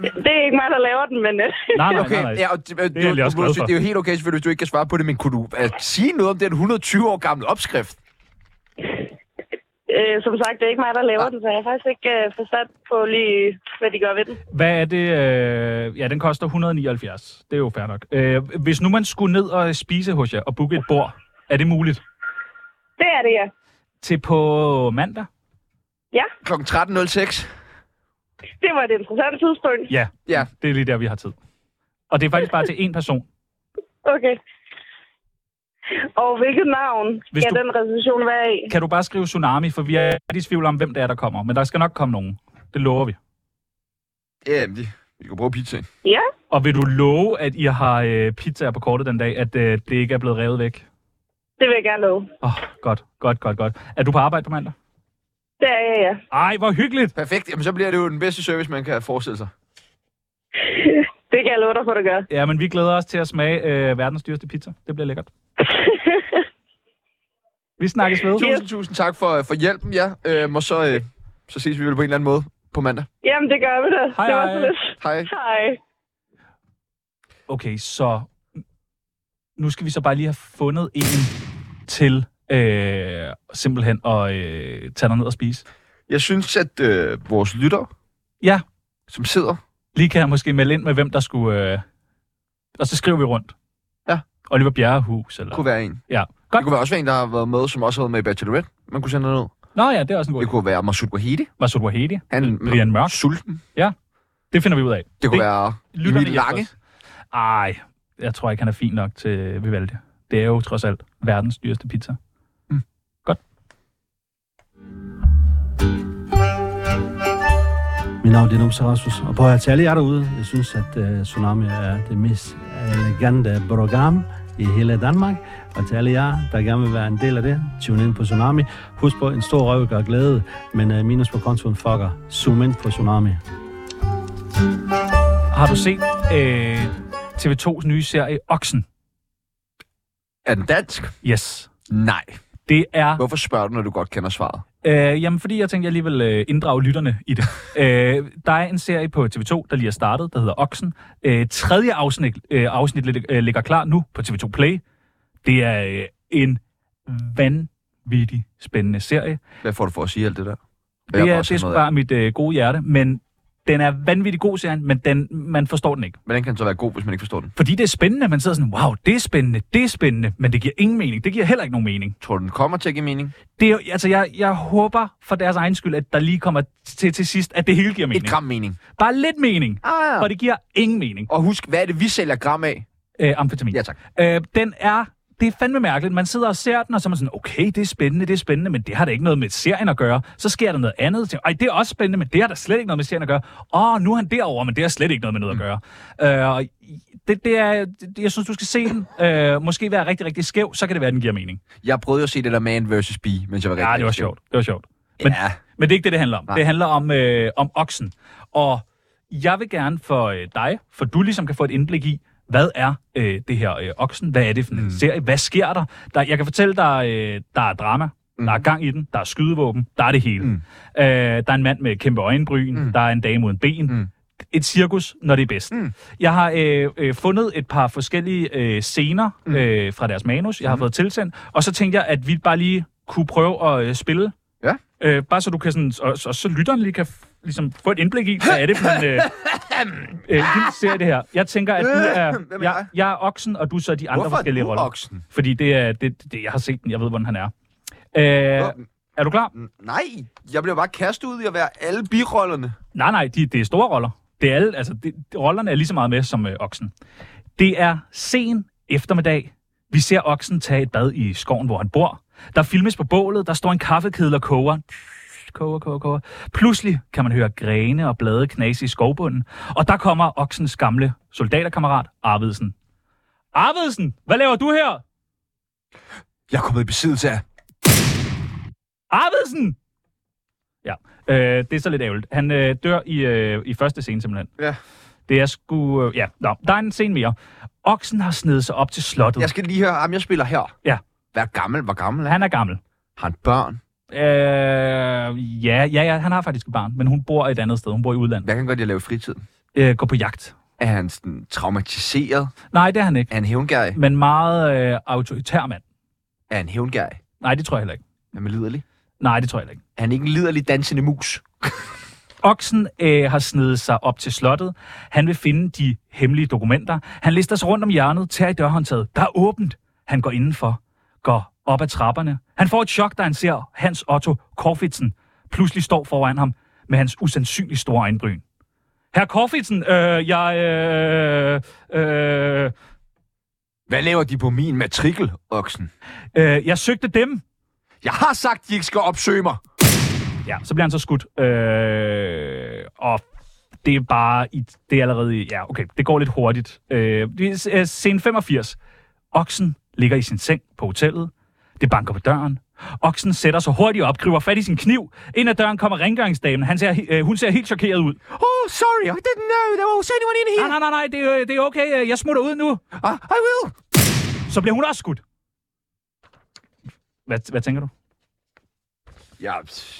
[SPEAKER 13] Det er ikke mig, der laver den, men... øh,
[SPEAKER 4] Nej, nej,
[SPEAKER 3] Okay,
[SPEAKER 4] nej, nej.
[SPEAKER 3] ja, og det, det, det,
[SPEAKER 4] egentlig
[SPEAKER 3] det,
[SPEAKER 4] også glad
[SPEAKER 3] det,
[SPEAKER 4] for.
[SPEAKER 3] det er jo helt okay, selvfølgelig, hvis du ikke kan svare på det, men kunne du altså, sige noget om den 120 år gamle opskrift?
[SPEAKER 13] øh, som sagt, det er ikke mig, der laver den, så jeg har faktisk ikke øh, forstand på lige, hvad de gør ved den.
[SPEAKER 4] Hvad er det? Øh... Ja, den koster 179. Det er jo fair nok. Øh, hvis nu man skulle ned og spise hos jer og booke et bord, er det muligt?
[SPEAKER 13] Det er det, ja.
[SPEAKER 4] Til på mandag?
[SPEAKER 13] Ja,
[SPEAKER 3] Klokken 13.06?
[SPEAKER 13] det var et interessant tidspunkt.
[SPEAKER 4] Ja,
[SPEAKER 3] Ja.
[SPEAKER 4] det er lige der, vi har tid. Og det er faktisk bare til én person.
[SPEAKER 13] Okay. Og hvilket navn
[SPEAKER 4] Hvis
[SPEAKER 13] skal
[SPEAKER 4] du-
[SPEAKER 13] den reservation være i?
[SPEAKER 4] Kan du bare skrive Tsunami, for vi er i tvivl om, hvem det er, der kommer. Men der skal nok komme nogen. Det lover vi.
[SPEAKER 3] Ja, vi, vi kan bruge pizzaen.
[SPEAKER 13] Ja,
[SPEAKER 4] Og vil du love, at I har øh, pizzaer på kortet den dag, at øh, det ikke er blevet revet væk?
[SPEAKER 13] det vil jeg gerne love.
[SPEAKER 4] Åh, oh, godt, godt, godt, godt. Er du på arbejde på mandag?
[SPEAKER 13] Det er jeg, ja.
[SPEAKER 4] Ej, hvor hyggeligt!
[SPEAKER 3] Perfekt. Jamen, så bliver det jo den bedste service, man kan forestille sig.
[SPEAKER 13] Det kan jeg love dig for, det gør.
[SPEAKER 4] Ja, men vi glæder os til at smage øh, verdens dyreste pizza. Det bliver lækkert. vi snakkes ved.
[SPEAKER 3] Tusind, tusind tak for, for hjælpen, ja. Øhm, og så, øh, så ses vi vel på en eller anden måde på mandag.
[SPEAKER 13] Jamen, det gør vi da.
[SPEAKER 4] Hej,
[SPEAKER 13] det var
[SPEAKER 4] hej.
[SPEAKER 13] så lidt.
[SPEAKER 3] Hej.
[SPEAKER 13] Hej.
[SPEAKER 4] Okay, så nu skal vi så bare lige have fundet en til øh, simpelthen at øh, tage dig ned og spise.
[SPEAKER 3] Jeg synes, at øh, vores lytter,
[SPEAKER 4] Ja,
[SPEAKER 3] som sidder...
[SPEAKER 4] lige kan jeg måske melde ind med, hvem der skulle... Øh, og så skriver vi rundt.
[SPEAKER 3] Ja.
[SPEAKER 4] Oliver Bjerrehus, eller...
[SPEAKER 3] kunne være en.
[SPEAKER 4] Ja.
[SPEAKER 3] Det
[SPEAKER 4] Godt.
[SPEAKER 3] kunne være også være en, der har været med, som også har været med i Bachelorette. Man kunne sende noget.
[SPEAKER 4] Nå ja, det er også en god
[SPEAKER 3] Det
[SPEAKER 4] idé.
[SPEAKER 3] kunne være Masud Wahidi.
[SPEAKER 4] Masud Wahedi.
[SPEAKER 3] Han
[SPEAKER 4] Brian Mørk.
[SPEAKER 3] sulten.
[SPEAKER 4] Ja, det finder vi ud af.
[SPEAKER 3] Det kunne være
[SPEAKER 4] lytterne
[SPEAKER 3] Emil
[SPEAKER 4] hjælper
[SPEAKER 3] Lange.
[SPEAKER 4] os. Ej, jeg tror ikke, han er fin nok til Vivaldi. Det er jo trods alt verdens dyreste pizza. Mm. Godt.
[SPEAKER 9] Mit navn det er Numse Rasmus, og på til alle jer derude, jeg synes, at uh, Tsunami er det mest elegante program i hele Danmark. Og til alle jer, der gerne vil være en del af det, tune ind på Tsunami. Husk på, en stor røv gør glæde, men uh, minus på kontoen fucker. Zoom ind på Tsunami.
[SPEAKER 4] Har du set øh, TV2's nye serie Oksen?
[SPEAKER 3] Er den dansk?
[SPEAKER 4] Yes.
[SPEAKER 3] Nej.
[SPEAKER 4] Det er...
[SPEAKER 3] Hvorfor spørger du, når du godt kender svaret?
[SPEAKER 4] Øh, jamen, fordi jeg tænkte, jeg lige vil øh, inddrage lytterne i det. øh, der er en serie på TV2, der lige er startet, der hedder Oksen. Øh, tredje afsnit, øh, afsnit lig, øh, ligger klar nu på TV2 Play. Det er øh, en vanvittig spændende serie.
[SPEAKER 3] Hvad får du for at sige alt det der? Jeg
[SPEAKER 4] Det
[SPEAKER 3] kan
[SPEAKER 4] er,
[SPEAKER 3] også
[SPEAKER 4] det er
[SPEAKER 3] have
[SPEAKER 4] sgu
[SPEAKER 3] noget af.
[SPEAKER 4] bare mit øh, gode hjerte, men den er vanvittig god, serien, men den, man forstår den ikke.
[SPEAKER 3] Hvordan kan den så være god, hvis man ikke forstår den?
[SPEAKER 4] Fordi det er spændende, man sidder sådan, wow, det er spændende, det er spændende, men det giver ingen mening. Det giver heller ikke nogen mening.
[SPEAKER 3] Tror du, den kommer til at give mening?
[SPEAKER 4] Det er, jo- altså, jeg, jeg håber for deres egen skyld, at der lige kommer til, til sidst, at det hele giver mening.
[SPEAKER 3] Et gram mening.
[SPEAKER 4] Bare lidt mening,
[SPEAKER 3] Ah, ja.
[SPEAKER 4] for det giver ingen mening.
[SPEAKER 3] Og husk, hvad er det, vi sælger gram af?
[SPEAKER 4] Øh, amfetamin.
[SPEAKER 3] Ja, tak.
[SPEAKER 4] Øh, den er, det er fandme mærkeligt. Man sidder og ser den, og så er man sådan, okay, det er spændende, det er spændende, men det har da ikke noget med serien at gøre. Så sker der noget andet. Tænker, Ej, det er også spændende, men det har da slet ikke noget med serien at gøre. Åh, nu er han derovre, men det har slet ikke noget med
[SPEAKER 3] Mm.
[SPEAKER 4] noget at gøre. Øh, og det, det er, det, jeg synes, du skal se den. Øh, måske være rigtig, rigtig skæv, så kan det være, den giver mening.
[SPEAKER 3] Jeg prøvede jo at se det der Man vs. Bee, mens jeg var rigtig
[SPEAKER 4] Ja, det var
[SPEAKER 3] rigtig
[SPEAKER 4] sjovt. Det var sjovt. Men,
[SPEAKER 3] Ja.
[SPEAKER 4] men det er ikke det, det handler om.
[SPEAKER 3] Nej.
[SPEAKER 4] Nej. Det handler om, øh, om oksen. Og jeg vil gerne for øh, dig, for du ligesom kan få et indblik i, hvad er øh, det her øh, oksen? Hvad er det for en mm. serie? Hvad sker der? der? Jeg kan fortælle dig, øh, der er drama. Mm. Der er gang i den. Der er skydevåben. Der er det hele. Mm. Øh, der er en mand med kæmpe øjenbryn. Mm. Der er en dame uden ben. Mm. Et cirkus, når det er bedst. Mm. Jeg har øh, øh, fundet et par forskellige øh, scener
[SPEAKER 3] Mm.
[SPEAKER 4] øh, fra deres manus, jeg har fået tilsendt. Og så tænkte jeg, at vi bare lige kunne prøve at øh, spille
[SPEAKER 3] Ja.
[SPEAKER 4] Øh, bare så du kan sådan, og, og så lytteren lige kan f- ligesom få et indblik i, hvad er det for en øh, øh, lille serie det her. Jeg tænker, at du er,
[SPEAKER 3] Øh, Hvem er
[SPEAKER 4] jeg, jeg er oksen, og du er så de andre
[SPEAKER 3] Hvorfor er
[SPEAKER 4] forskellige
[SPEAKER 3] du
[SPEAKER 4] roller.
[SPEAKER 3] oksen?
[SPEAKER 4] Fordi det er, det, det, jeg har set den, jeg ved, hvordan han er. Øh, er du klar?
[SPEAKER 3] Nej, jeg blev bare kastet ud i at være alle birollerne.
[SPEAKER 4] Nej, nej, de, det er store roller. Det er alle, altså, det, rollerne er lige så meget med som øh, oksen. Det er sen eftermiddag. Vi ser oksen tage et bad i skoven, hvor han bor. Der filmes på bålet, der står en kaffekedel og koger. Koger, koger, koger. Pludselig kan man høre grene og blade knase i skovbunden. Og der kommer oksens gamle soldaterkammerat, Arvedsen. Arvedsen, hvad laver du her?
[SPEAKER 3] Jeg er kommet i besiddelse af.
[SPEAKER 4] Arvidsen! Ja, øh, det er så lidt ærgerligt. Han øh, dør i, øh, i første scene simpelthen.
[SPEAKER 3] Ja.
[SPEAKER 4] Det er sgu... Øh, ja, Nå, der er en scene mere. Oksen har snedet sig op til slottet.
[SPEAKER 3] Jeg skal lige høre, om jeg spiller her.
[SPEAKER 4] Ja.
[SPEAKER 3] Hvad gammel? Hvor gammel er
[SPEAKER 4] han? er gammel.
[SPEAKER 3] Har han børn?
[SPEAKER 4] Øh, ja, ja, ja, han har faktisk et barn, men hun bor et andet sted. Hun bor i udlandet.
[SPEAKER 3] Hvad kan godt jeg lave i fritiden?
[SPEAKER 4] Øh, gå på jagt.
[SPEAKER 3] Er han sådan traumatiseret?
[SPEAKER 4] Nej, det er han ikke.
[SPEAKER 3] Er han hævngærig?
[SPEAKER 4] Men meget øh, autoritær mand.
[SPEAKER 3] Er han hævngærig?
[SPEAKER 4] Nej, det tror jeg heller ikke.
[SPEAKER 3] Er man liderlig?
[SPEAKER 4] Nej, det tror jeg heller ikke.
[SPEAKER 3] Er han ikke en liderlig dansende mus?
[SPEAKER 4] Oksen øh, har snedet sig op til slottet. Han vil finde de hemmelige dokumenter. Han lister sig rundt om hjørnet, tager i dørhåndtaget. Der er åbent. Han går indenfor, går op ad trapperne. Han får et chok, da han ser Hans Otto Korfitsen pludselig står foran ham med hans usandsynligt store øjenbryn. Herr Korfitsen, øh, jeg... Øh, øh,
[SPEAKER 3] Hvad laver de på min matrikel, oksen?
[SPEAKER 4] øh, jeg søgte dem.
[SPEAKER 3] Jeg har sagt, de ikke skal opsøge mig.
[SPEAKER 4] Ja, så bliver han så skudt. Øh, og det er bare... I, det er allerede... i- Ja, okay, det går lidt hurtigt. Øh, det er s- øh, scene 85. Oksen ligger i sin seng på hotellet. Det banker på døren. Oksen sætter sig hurtigt op, griber fat i sin kniv. Ind ad døren kommer rengøringsdamen. Han ser, he- øh, hun ser helt chokeret ud.
[SPEAKER 3] Oh, sorry, I didn't know there was anyone in
[SPEAKER 4] Nej, nej, nej, nej, det, er, øh, det er okay. øh, Jeg smutter ud nu.
[SPEAKER 3] Ah, I will.
[SPEAKER 4] Så bliver hun også skudt. Hvad, hvad tænker du?
[SPEAKER 3] Ja,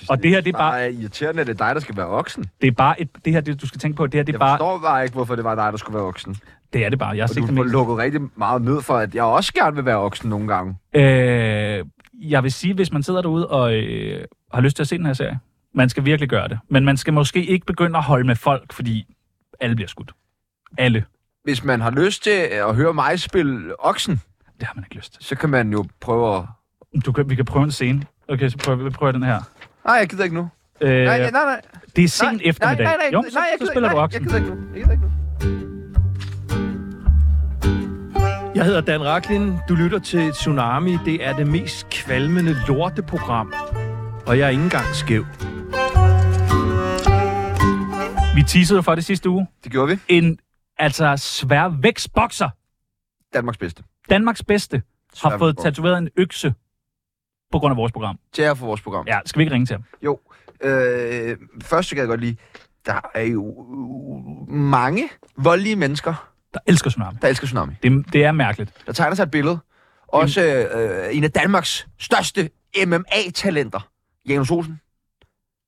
[SPEAKER 4] Og det her, det er bare-
[SPEAKER 3] Det er irriterende, at det er dig, der skal være oksen.
[SPEAKER 4] Det er bare et, det her, det, du skal tænke på, det her, det er
[SPEAKER 3] Jeg
[SPEAKER 4] bare...
[SPEAKER 3] forstår bare ikke, hvorfor det var dig, der skulle være oksen.
[SPEAKER 4] Det er det bare. Jeg har
[SPEAKER 3] Og
[SPEAKER 4] set
[SPEAKER 3] du
[SPEAKER 4] det
[SPEAKER 3] får
[SPEAKER 4] meste.
[SPEAKER 3] lukket rigtig meget ned for, at jeg også gerne vil være oksen nogle gange.
[SPEAKER 4] Øh, jeg vil sige, hvis man sidder derude og øh, har lyst til at se den her serie, man skal virkelig gøre det. Men man skal måske ikke begynde at holde med folk, fordi alle bliver skudt. Alle.
[SPEAKER 3] Hvis man har lyst til øh, at høre mig spille oksen,
[SPEAKER 4] Det har man ikke lyst til.
[SPEAKER 3] så kan man jo prøve at...
[SPEAKER 4] Du kan, vi kan prøve en scene. Okay, så prøver vi prøver den her.
[SPEAKER 3] Nej, jeg gider ikke nu.
[SPEAKER 4] Øh,
[SPEAKER 3] Nej, nej, nej.
[SPEAKER 4] Det er sent
[SPEAKER 3] nej,
[SPEAKER 4] eftermiddag.
[SPEAKER 3] Nej, nej,
[SPEAKER 4] jo,
[SPEAKER 3] nej,
[SPEAKER 4] så,
[SPEAKER 3] nej, jeg gider,
[SPEAKER 4] så spiller
[SPEAKER 3] nej,
[SPEAKER 4] du
[SPEAKER 3] Jeg
[SPEAKER 4] oksen.
[SPEAKER 3] gider ikke nu. Jeg gider ikke nu.
[SPEAKER 14] Jeg hedder Dan Raklin. Du lytter til Tsunami. Det er det mest kvalmende lorteprogram. Og jeg er ikke engang skæv.
[SPEAKER 4] Vi teasede jo for det sidste uge.
[SPEAKER 3] Det gjorde vi.
[SPEAKER 4] En altså svær vækstbokser,
[SPEAKER 3] Danmarks bedste.
[SPEAKER 4] Danmarks bedste, har fået
[SPEAKER 3] Sværvægtsbokser.
[SPEAKER 4] tatoveret en økse på grund af vores program.
[SPEAKER 3] Til jer for vores program.
[SPEAKER 4] Ja, skal vi ikke ringe til ham?
[SPEAKER 3] Jo. Øh, først så kan jeg godt lide, der er jo mange voldelige mennesker,
[SPEAKER 4] Der elsker Tsunami.
[SPEAKER 3] der elsker tsunami.
[SPEAKER 4] Det, det er mærkeligt.
[SPEAKER 3] Der tegner sig et billede. Også øh, en af Danmarks største MMA-talenter, Janus Olsen.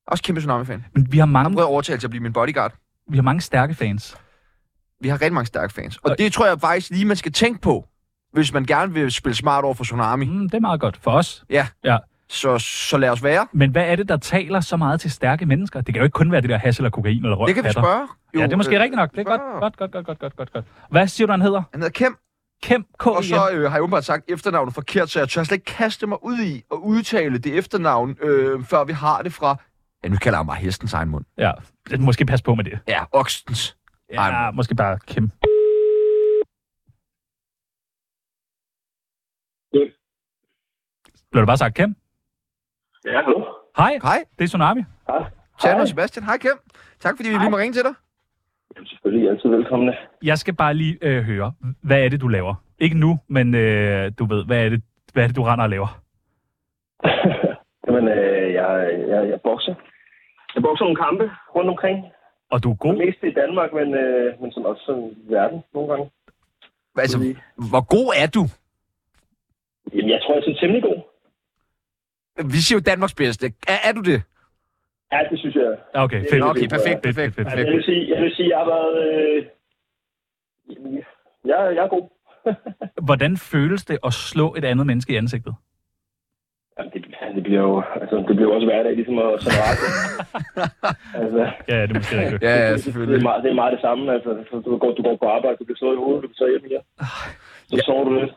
[SPEAKER 3] Også kæmpe tsunami-fan.
[SPEAKER 4] Men vi har
[SPEAKER 3] Han
[SPEAKER 4] mange,
[SPEAKER 3] prøvede at overtale til at blive min bodyguard.
[SPEAKER 4] vi har mange stærke fans.
[SPEAKER 3] Vi har rigtig mange stærke fans. Og det tror jeg faktisk lige, man skal tænke på, hvis man gerne vil spille smart over for Tsunami.
[SPEAKER 4] Mm, det er meget godt for os.
[SPEAKER 3] Ja,
[SPEAKER 4] Ja.
[SPEAKER 3] så, så lad os være.
[SPEAKER 4] Men hvad er det, der taler så meget til stærke mennesker? Det kan jo ikke kun være det der hash eller kokain eller røg.
[SPEAKER 3] Det kan vi spørge.
[SPEAKER 4] Jo, ja, det er måske
[SPEAKER 3] øh,
[SPEAKER 4] øh, rigtigt nok. Det er
[SPEAKER 3] spørge.
[SPEAKER 4] godt, godt, godt, godt, godt, godt, godt, godt. Hvad siger du, han hedder?
[SPEAKER 3] Han hedder Kemp,
[SPEAKER 4] Kemp K.
[SPEAKER 3] og så øh, har jeg åbenbart sagt efternavnet forkert, så jeg tør slet ikke kaste mig ud i at udtale det efternavn, øh, før vi har det fra... Ja, nu kalder jeg mig hestens egen mund.
[SPEAKER 4] Ja, lidt måske pas på med det.
[SPEAKER 3] Ja, okstens.
[SPEAKER 4] Ja,
[SPEAKER 3] Ej,
[SPEAKER 4] måske bare Kemp.
[SPEAKER 15] Kemp.
[SPEAKER 4] Blev du bare sagt Kemp?
[SPEAKER 15] Ja, hallo.
[SPEAKER 4] Hej,
[SPEAKER 3] Hej,
[SPEAKER 4] det er Tsunami.
[SPEAKER 3] Tjerno og Sebastian. Hej, Kemp. Tak, fordi vi lige må ringe til dig.
[SPEAKER 15] Jamen, selvfølgelig altid velkomne.
[SPEAKER 4] Jeg skal bare lige øh, høre, hvad er det, du laver? Ikke nu, men øh, du ved, hvad er, det, hvad er det, du render og laver?
[SPEAKER 15] Jamen, øh, jeg, jeg, jeg bokser. Jeg bokser nogle kampe rundt omkring.
[SPEAKER 4] Og du er god.
[SPEAKER 15] Mest i Danmark, men, øh, men som også i verden nogle gange.
[SPEAKER 3] Altså, hvor god er du?
[SPEAKER 15] Jamen, jeg tror, jeg er temmelig god.
[SPEAKER 3] Vi siger jo Danmarks bedste. Er, er du det?
[SPEAKER 15] Ja, det synes jeg.
[SPEAKER 4] Ah, Okay,
[SPEAKER 15] Det er
[SPEAKER 4] fedt.
[SPEAKER 15] nok
[SPEAKER 3] Okay, perfekt,
[SPEAKER 4] Fedt, fedt,
[SPEAKER 3] perfekt,
[SPEAKER 4] fedt.
[SPEAKER 15] Altså, jeg
[SPEAKER 3] perfekt.
[SPEAKER 15] vil sige, jeg, vil sige, jeg har været... Øh, jeg, jeg er god.
[SPEAKER 4] Hvordan føles det at slå et andet menneske i ansigtet?
[SPEAKER 15] Jamen, det, det bliver jo altså, det bliver jo også hverdag, ligesom at sådan rette. altså,
[SPEAKER 4] Ja, det er måske rigtigt.
[SPEAKER 3] Ja, ja,
[SPEAKER 15] det, er
[SPEAKER 3] selvfølgelig.
[SPEAKER 15] meget, det er meget det samme. Altså, så du, går, du går på arbejde, du bliver slået i hovedet, du bliver taget hjem igen. Så
[SPEAKER 3] Ah, Ja.
[SPEAKER 15] sover du lidt.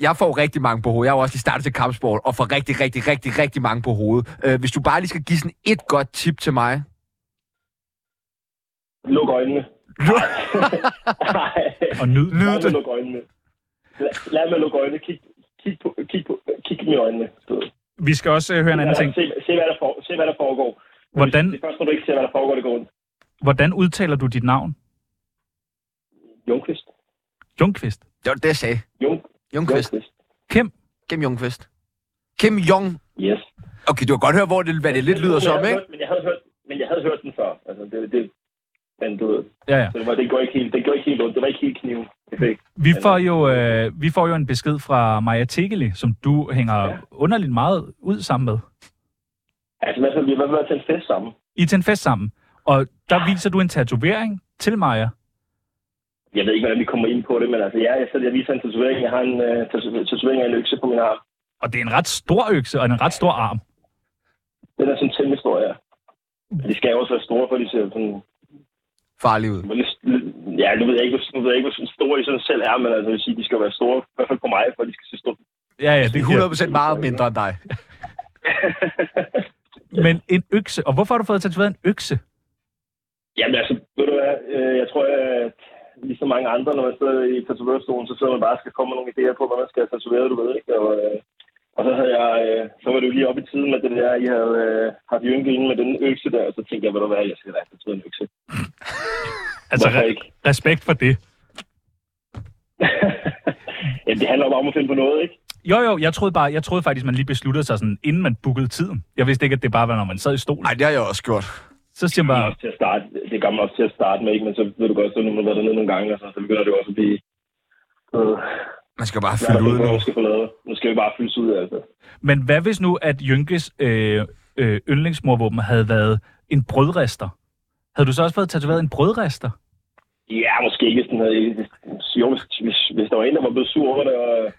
[SPEAKER 3] Jeg får rigtig mange på hovedet. Jeg har jo også lige startet til kampsport, og får rigtig, rigtig, rigtig, rigtig mange på hovedet. Øh, hvis du bare lige skal give sådan et godt tip til mig.
[SPEAKER 15] Luk øjnene. Nej,
[SPEAKER 4] Og nyd.
[SPEAKER 15] lad
[SPEAKER 3] Lyd
[SPEAKER 15] mig
[SPEAKER 3] det.
[SPEAKER 15] lukke øjnene. Lad, lad mig lukke øjnene. Kig, kig, på, kig, på, kig dem i øjnene. Du ved.
[SPEAKER 4] Vi skal også øh, høre en anden
[SPEAKER 10] Altså,
[SPEAKER 4] ting.
[SPEAKER 15] Se, se, hvad der for, se, hvad der foregår.
[SPEAKER 4] Hvordan,
[SPEAKER 15] Det er først, når du ikke ser, hvad der foregår, det går ondt.
[SPEAKER 4] hvordan udtaler du dit navn?
[SPEAKER 15] Jungqvist.
[SPEAKER 4] Jungqvist.
[SPEAKER 3] Det var det, jeg sagde.
[SPEAKER 15] Jung,
[SPEAKER 3] Jungqvist.
[SPEAKER 15] Jungqvist.
[SPEAKER 4] Kim.
[SPEAKER 3] Kim Jong-fest. Kim Jong.
[SPEAKER 10] Yes.
[SPEAKER 3] Okay, du har godt hørt, hvor det, hvad det lidt lyder som, ikke?
[SPEAKER 10] Men jeg havde hørt, men jeg havde hørt den før. Altså, det, det, men du ved,
[SPEAKER 4] Ja, ja.
[SPEAKER 10] så det, var, det, går ikke helt, det går ikke helt ondt. Det var ikke helt kniven. Det fik.
[SPEAKER 4] Vi får, jo, øh, vi får jo en besked fra Maja Tegeli, som du hænger ja. underligt meget ud sammen med.
[SPEAKER 10] Altså, hvad så, vi har været til en fest sammen.
[SPEAKER 4] I er til en fest sammen, og der viser du en tatovering til Maja.
[SPEAKER 10] Jeg ved ikke, hvordan vi kommer ind på det, men altså, ja, jeg, så jeg viser en tatovering. Jeg har en uh, tatovering af en økse på min arm.
[SPEAKER 4] Og det er en ret stor økse og en ret stor arm.
[SPEAKER 10] Den er sådan temmelig stor, ja. De skal jo også være store, for de ser sådan...
[SPEAKER 3] Farlige ud.
[SPEAKER 10] Ja, nu ved jeg ikke, hvor- nu ved jeg ikke, hvor store de sådan selv er, men altså, jeg vil sige, de skal jo være store, i hvert fald på mig, for de skal se store.
[SPEAKER 4] Ja, ja, det
[SPEAKER 3] er 100% meget mindre end dig.
[SPEAKER 4] Men en økse. Og hvorfor har du fået tatoveret en økse?
[SPEAKER 10] Jamen altså, ved du hvad, øh, jeg tror, at ligesom mange andre, når man sidder i tatoverstolen, så sidder man bare og skal komme med nogle idéer på, hvad man skal have tatoveret, du ved, ikke? Og, øh, og så, havde jeg, øh, så var det jo lige oppe i tiden med det der, I havde øh, haft jynket inde med den økse der, og så tænkte jeg, ved du hvad, jeg skal da have tatoveret en økse.
[SPEAKER 4] Altså,
[SPEAKER 10] Hvorfor
[SPEAKER 4] re- respekt for det.
[SPEAKER 10] Jamen, det handler jo bare om at finde på noget, ikke?
[SPEAKER 4] Jo, jo, jeg troede, bare, jeg troede faktisk, man lige besluttede sig sådan, inden man bookede tiden. Jeg vidste ikke, at det bare var, når man sad i stolen. Nej,
[SPEAKER 3] det har jeg også gjort.
[SPEAKER 4] Så siger man bare,
[SPEAKER 10] Til at starte, det gør man også til at starte med, ikke? Men så ved du godt, så når man har været dernede nogle gange, altså, så begynder det jo også at blive... Øh,
[SPEAKER 3] man skal bare
[SPEAKER 10] fylde ud nu. Skal få lavet. Nu skal vi bare fyldes ud, altså.
[SPEAKER 4] men hvad hvis nu, at Jynkes øh, øh, yndlingsmorvåben havde været en brødrester? Havde du så også fået tatoveret en brødrester?
[SPEAKER 10] Ja, måske ikke, hvis den havde... hvis- Jo, hvis, hvis, hvis der var en, der var blevet sur over det, og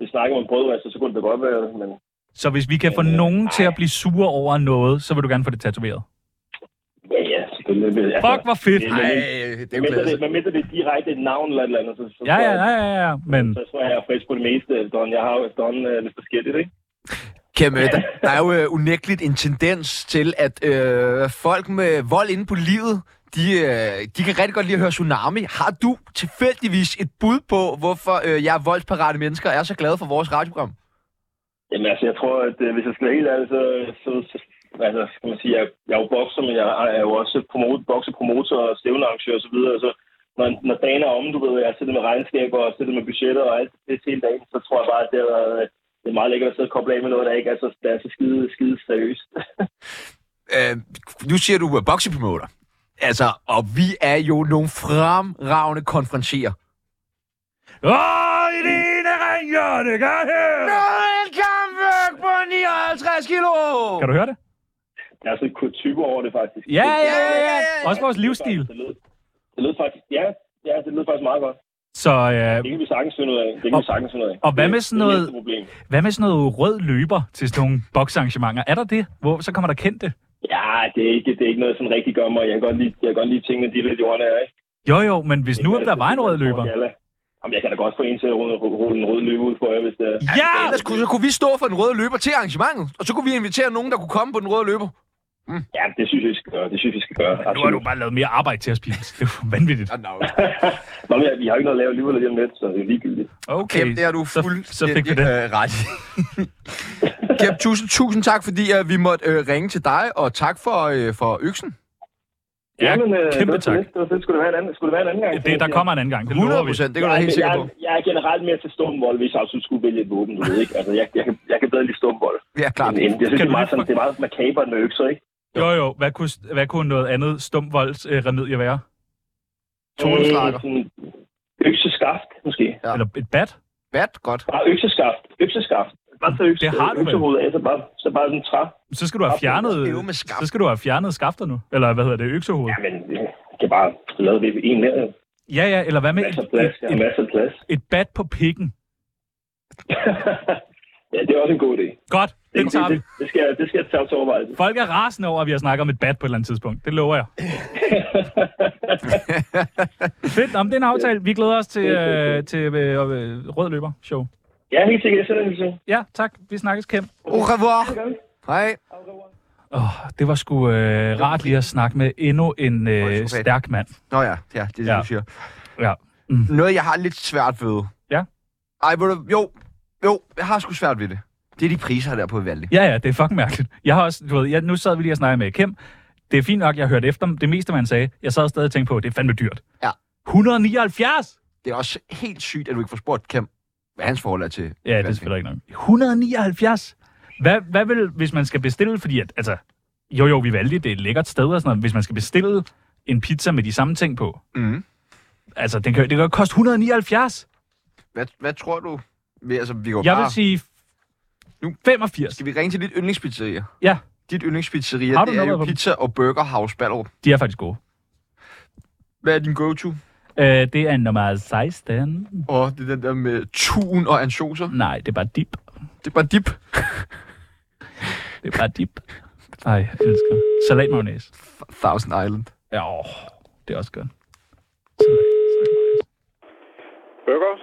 [SPEAKER 10] vi snakkede om brødrester, så kunne det da godt være, men
[SPEAKER 4] Så hvis vi kan få nogen til at blive sure over noget, så vil du gerne få det tatoveret.
[SPEAKER 10] ja, ja, selvfølgelig. altså,
[SPEAKER 4] Fuck, hvor fedt.
[SPEAKER 10] men-
[SPEAKER 4] Ej,
[SPEAKER 3] det er jo
[SPEAKER 10] men mindre
[SPEAKER 4] klasse.
[SPEAKER 10] det, men mindre det er direkte et navn eller et eller andet, så, så
[SPEAKER 4] Ja,
[SPEAKER 10] tror
[SPEAKER 4] ja,
[SPEAKER 10] jeg-
[SPEAKER 4] ja, ja, ja. Men
[SPEAKER 10] Så tror jeg, jeg er frisk på det meste efterhånden. Jeg har jo efterhånden øh, lidt forskelligt, ikke?
[SPEAKER 3] Kim, øh, der, der er jo øh, unægteligt en tendens til, at øh, folk med vold inde på livet, de, øh, de kan rigtig godt lide at høre Tsunami. Har du tilfældigvis et bud på, hvorfor øh, jeg voldsparate mennesker er så glade for vores radioprogram?
[SPEAKER 10] Jamen altså, jeg tror, at øh, hvis jeg skal være helt ærlig, så, så, så altså, skal man sige, jeg, jeg er jo bokser, men jeg er jo også promoter, boksepromotor og stævnearrangør og så videre. Så når, når dagen er om, du ved, jeg har siddet med regnskaber og siddet med budgetter og alt det hele dagen, så tror jeg bare, at det har været, øh, det er meget lækkert at sidde og koble af med noget, der ikke er så, der er så skide, skide seriøst.
[SPEAKER 3] Øh, nu siger du uh, boksepromoter. Altså, og vi er jo nogle fremragende konfronterer.
[SPEAKER 4] Åh, i det ene ringhjørne, gør her!
[SPEAKER 3] Noel Kampvæk på 59 kilo!
[SPEAKER 4] kan du høre det?
[SPEAKER 10] Der er sådan et type over det, faktisk.
[SPEAKER 4] Ja, ja, ja, ja. Også vores livsstil.
[SPEAKER 10] Det lød, det lød faktisk, ja, ja, det lød faktisk meget godt.
[SPEAKER 4] Så øh,
[SPEAKER 10] Det kan vi sagtens finde ud af. Det kan vi sagtens finde ud af.
[SPEAKER 4] og hvad
[SPEAKER 10] Det-
[SPEAKER 4] med sådan
[SPEAKER 10] det er
[SPEAKER 4] noget-
[SPEAKER 10] næste problem.
[SPEAKER 4] hvad med sådan noget rød løber til sådan nogle boksarrangementer? Er der det? Hvor, så kommer der kendte.
[SPEAKER 10] Ja, det er ikke, det er ikke noget, som rigtig gør mig. Jeg kan godt lide, jeg kan godt lide tingene, de lidt jorden er, ikke?
[SPEAKER 4] Jo, jo, men hvis nu at der var en rød løber.
[SPEAKER 10] Jalla. Jamen, jeg kan da godt få en til at rulle, rulle en rød løber ud, tror jeg, hvis det er.
[SPEAKER 3] Ja! Ellers Altså, kunne, så kunne vi stå for den røde løber til arrangementet, og så kunne vi invitere nogen, der kunne komme på den røde løber.
[SPEAKER 10] Ja, det synes jeg, vi skal gøre. Det synes jeg, vi skal gøre.
[SPEAKER 4] Nu har du bare lavet mere arbejde til at spise. Det er jo vanvittigt.
[SPEAKER 10] Nå, men jeg- vi har ikke noget at lave alligevel lige om lidt, så det er jo ligegyldigt.
[SPEAKER 4] Okay,
[SPEAKER 3] Kæm, det har du
[SPEAKER 4] så, så fik vi
[SPEAKER 3] fuldstændig øh,
[SPEAKER 4] det.
[SPEAKER 3] ret. Kæm, tusind, tusind tak, fordi uh, vi måtte uh, ringe til dig, og tak for, uh, for øksen.
[SPEAKER 10] Ja, men, øh,
[SPEAKER 4] kæmpe
[SPEAKER 10] det var så
[SPEAKER 4] tak.
[SPEAKER 10] lidt. Det var fedt. Skulle det være en anden, skulle det være en anden gang?
[SPEAKER 4] det. Der kommer en anden gang, det lover vi.
[SPEAKER 3] 100%, det kan du være helt sikker på.
[SPEAKER 10] Jeg, jeg er generelt mere til stum vold, hvis jeg absolut skulle vælge et våben, du ved ikke. Altså, jeg, jeg, kan, jeg kan bedre lide stum vold.
[SPEAKER 3] Ja, klart.
[SPEAKER 10] Jeg synes, det
[SPEAKER 4] Kan du
[SPEAKER 10] er meget, sådan, det er meget makabert med økser, ikke?
[SPEAKER 4] Jo, jo. Hvad kunne, hvad kunne noget andet stumvoldsremedie være?
[SPEAKER 10] Toneslakker. Øh, Økseskaft, måske.
[SPEAKER 3] Ja.
[SPEAKER 4] Eller et bat?
[SPEAKER 3] Bat, godt.
[SPEAKER 10] Bare økseskaft. Økseskaft. Bare så økse,
[SPEAKER 4] Det har du vel.
[SPEAKER 10] øksehovedet af, så bare, så bare den træ.
[SPEAKER 4] Så skal du have fjernet, så skal du have fjernet skafter nu. Eller hvad hedder det? Øksehoved?
[SPEAKER 10] Men øh, jeg kan bare lave det ved en mere.
[SPEAKER 4] Ja, ja. Eller hvad med
[SPEAKER 10] Masser af plads. Jeg har masser af plads.
[SPEAKER 4] et bat på pikken?
[SPEAKER 10] Ja, det er også en god idé.
[SPEAKER 4] Godt. Den
[SPEAKER 10] det,
[SPEAKER 4] tager vi.
[SPEAKER 10] det, det, skal, jeg- det skal jeg tage til overvejelse.
[SPEAKER 4] Folk er rasende over, at vi har snakket om et bat på et eller andet tidspunkt. Det lover jeg. Fedt. Om det er en aftale. Vi glæder os til, øh, til øh, øh, Rød Løber Show.
[SPEAKER 10] Ja, helt sikkert. Jeg sender en hilsen.
[SPEAKER 4] Ja, tak. Vi snakkes, Kim.
[SPEAKER 3] Au revoir. Hej.
[SPEAKER 4] Oh, det var sgu øh, rart lige at snakke med endnu en øh, stærk mand.
[SPEAKER 3] Nå ja, ja det er det,
[SPEAKER 4] Ja.
[SPEAKER 3] du siger.
[SPEAKER 4] Ja.
[SPEAKER 3] Mm. Noget, jeg har lidt svært ved.
[SPEAKER 4] Ja.
[SPEAKER 3] Ej, ved du, jo, jo, jeg har sgu svært ved det. Det er de priser der på Vivaldi.
[SPEAKER 4] Ja, ja, det er fucking mærkeligt. Jeg har også, du ved, jeg, nu sad vi lige og snakkede med Kim. Det er fint nok, jeg hørte efter det meste, man sagde. Jeg sad stadig og tænkte på, det er fandme dyrt.
[SPEAKER 3] Ja.
[SPEAKER 4] 179!
[SPEAKER 3] Det er også helt sygt, at du ikke får spurgt, Kim. hvad hans forhold er til...
[SPEAKER 4] Ja, det er selvfølgelig ikke nok. 179? Hvad, hvad vil, hvis man skal bestille, fordi at, altså, jo jo, vi valgte det er et lækkert sted og sådan noget, hvis man skal bestille en pizza med de samme ting på,
[SPEAKER 3] Mm.
[SPEAKER 4] altså, den kan, det kan jo koste 179.
[SPEAKER 3] Hvad, hvad tror du? Vi, altså, vi går
[SPEAKER 4] Jeg
[SPEAKER 3] bare...
[SPEAKER 4] vil sige
[SPEAKER 3] nu
[SPEAKER 4] 85.
[SPEAKER 3] Skal vi ringe til dit yndlingspizzeria?
[SPEAKER 4] Ja.
[SPEAKER 3] Dit yndlingspizzeria,
[SPEAKER 4] Har
[SPEAKER 3] det er
[SPEAKER 4] du nummeret
[SPEAKER 3] jo
[SPEAKER 4] på dem?
[SPEAKER 3] Pizza og Burger House Ballerup.
[SPEAKER 4] De er faktisk gode.
[SPEAKER 3] Hvad er din go-to?
[SPEAKER 4] Øh, det er nummer 16.
[SPEAKER 3] Og det er den der med tun og ansjoser?
[SPEAKER 4] Nej, det er bare dip.
[SPEAKER 3] Det er bare dip?
[SPEAKER 4] det er bare dip. Ej, jeg elsker. Salat mayonnaise.
[SPEAKER 3] Thousand Island.
[SPEAKER 4] Ja, åh, det er også godt.
[SPEAKER 16] Burgers.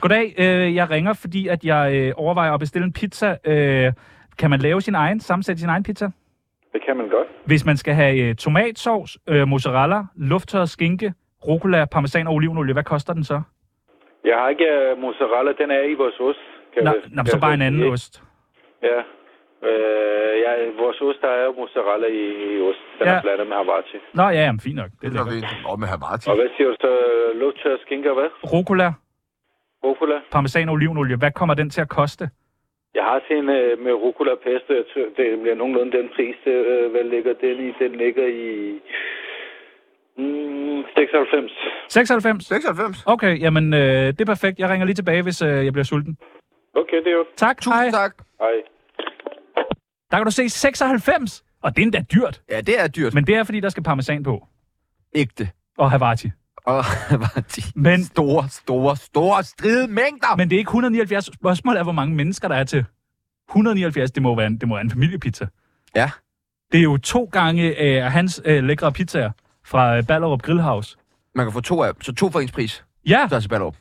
[SPEAKER 4] Goddag, øh, jeg ringer, fordi at jeg øh, overvejer at bestille en pizza. Øh, kan man lave sin egen, sammensætte sin egen pizza?
[SPEAKER 16] Det kan man godt.
[SPEAKER 4] Hvis man skal have øh, tomatsovs, øh, mozzarella, lufttørret skinke, rucola, parmesan og olivenolie, hvad koster den så?
[SPEAKER 16] Jeg har ikke øh, mozzarella, den er i vores ost. Kan
[SPEAKER 4] Nå,
[SPEAKER 16] jeg-
[SPEAKER 4] nå,
[SPEAKER 16] kan
[SPEAKER 4] så
[SPEAKER 16] jeg
[SPEAKER 4] bare
[SPEAKER 16] så
[SPEAKER 4] en anden
[SPEAKER 16] sige.
[SPEAKER 4] ost.
[SPEAKER 16] Ja. Øh, ja, vores ost, der er jo mozzarella i, i ost. Den
[SPEAKER 4] Ja.
[SPEAKER 16] er blandet med havarti.
[SPEAKER 4] Nå, ja, jamen, fint nok. Det er
[SPEAKER 3] vi. Og med havarti.
[SPEAKER 16] Og hvad siger du så? Lufttør, skinker, hvad?
[SPEAKER 4] Rucola,
[SPEAKER 16] Rucola?
[SPEAKER 4] parmesan og olivenolie, hvad kommer den til at koste?
[SPEAKER 16] Jeg har set en øh, med rucola pesto. Jeg tror, det bliver nogenlunde den pris. Det, øh, hvad ligger den i? Den ligger i... Mm, 96.
[SPEAKER 4] 96?
[SPEAKER 3] 96.
[SPEAKER 4] Okay, jamen, øh, det er perfekt. Jeg ringer lige tilbage, hvis øh, jeg bliver sulten.
[SPEAKER 16] Okay, det er jo...
[SPEAKER 4] Tak, Tusind hej.
[SPEAKER 3] tak.
[SPEAKER 16] Hej.
[SPEAKER 4] Der kan du se 96, og det er endda dyrt.
[SPEAKER 3] Ja, det er dyrt.
[SPEAKER 4] Men det er, fordi der skal parmesan på.
[SPEAKER 3] Ægte.
[SPEAKER 4] Og Havarti.
[SPEAKER 3] Og Havarti.
[SPEAKER 4] Men,
[SPEAKER 3] store, store, store stride mængder.
[SPEAKER 4] Men det er ikke 179. Spørgsmålet er, hvor mange mennesker der er til. 179, det må være en, det må være en familiepizza.
[SPEAKER 3] Ja.
[SPEAKER 4] Det er jo to gange øh, hans øh, lækre pizzaer fra øh, Ballerup Grillhouse.
[SPEAKER 3] Man kan få to af dem. Så to for ens pris.
[SPEAKER 4] Ja.
[SPEAKER 3] Så er til Ballerup.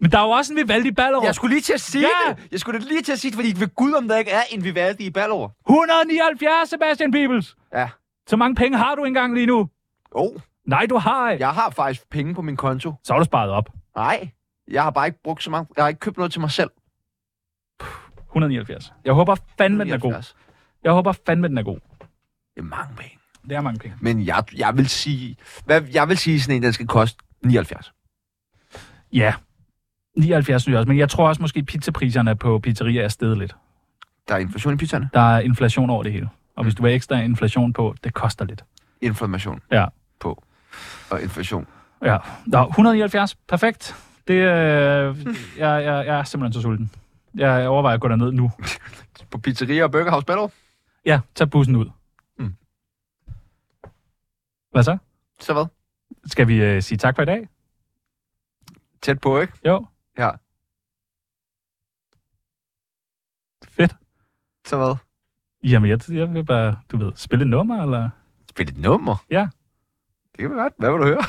[SPEAKER 4] Men der er jo også en Vivaldi i Ballerup.
[SPEAKER 3] Jeg skulle lige til at sige
[SPEAKER 4] Ja.
[SPEAKER 3] ja. det. Jeg skulle da lige til at sige det, fordi ved Gud, om der ikke er en Vivaldi i Ballerup.
[SPEAKER 4] 179, Sebastian Bibels!
[SPEAKER 3] Ja.
[SPEAKER 4] Så mange penge har du engang lige nu?
[SPEAKER 3] Jo.
[SPEAKER 4] Nej, du har ikke.
[SPEAKER 3] Jeg har faktisk penge på min konto.
[SPEAKER 4] Så har du sparet op.
[SPEAKER 3] Nej. Jeg har bare ikke brugt så meget. Jeg har ikke købt noget til mig selv.
[SPEAKER 4] 179. Jeg håber fandme, den er god. Jeg håber fandme, den er god.
[SPEAKER 3] Det er mange penge.
[SPEAKER 4] Det er mange penge.
[SPEAKER 3] Men jeg, jeg vil sige... Hvad, jeg vil sige sådan en, den skal koste 79.
[SPEAKER 4] Ja. 79 synes jeg også, men jeg tror også måske, pizzapriserne på pizzerier er steget lidt.
[SPEAKER 3] Der er inflation i pizzaerne.
[SPEAKER 4] Der er inflation over det hele. Og hvis du har ekstra inflation på, det koster lidt.
[SPEAKER 3] Inflammation
[SPEAKER 4] Ja.
[SPEAKER 3] på. Og inflation.
[SPEAKER 4] Ja. Nå, 179. Perfekt. Det, øh, jeg, jeg, jeg er simpelthen så sulten. Jeg overvejer at gå derned nu.
[SPEAKER 3] På pizzeria og Burger House Ballerup.
[SPEAKER 4] Ja, tag bussen ud.
[SPEAKER 3] Mm.
[SPEAKER 4] Hvad så?
[SPEAKER 3] Så hvad?
[SPEAKER 4] Skal vi øh, sige tak for i dag?
[SPEAKER 3] Tæt på, ikke?
[SPEAKER 4] Jo.
[SPEAKER 3] Ja.
[SPEAKER 4] Fedt.
[SPEAKER 3] Så hvad?
[SPEAKER 4] Jamen, jeg, jeg vil bare, du ved, spille et nummer, eller?
[SPEAKER 3] Spille et nummer?
[SPEAKER 4] Ja.
[SPEAKER 3] Det kan vi godt. Hvad vil du høre?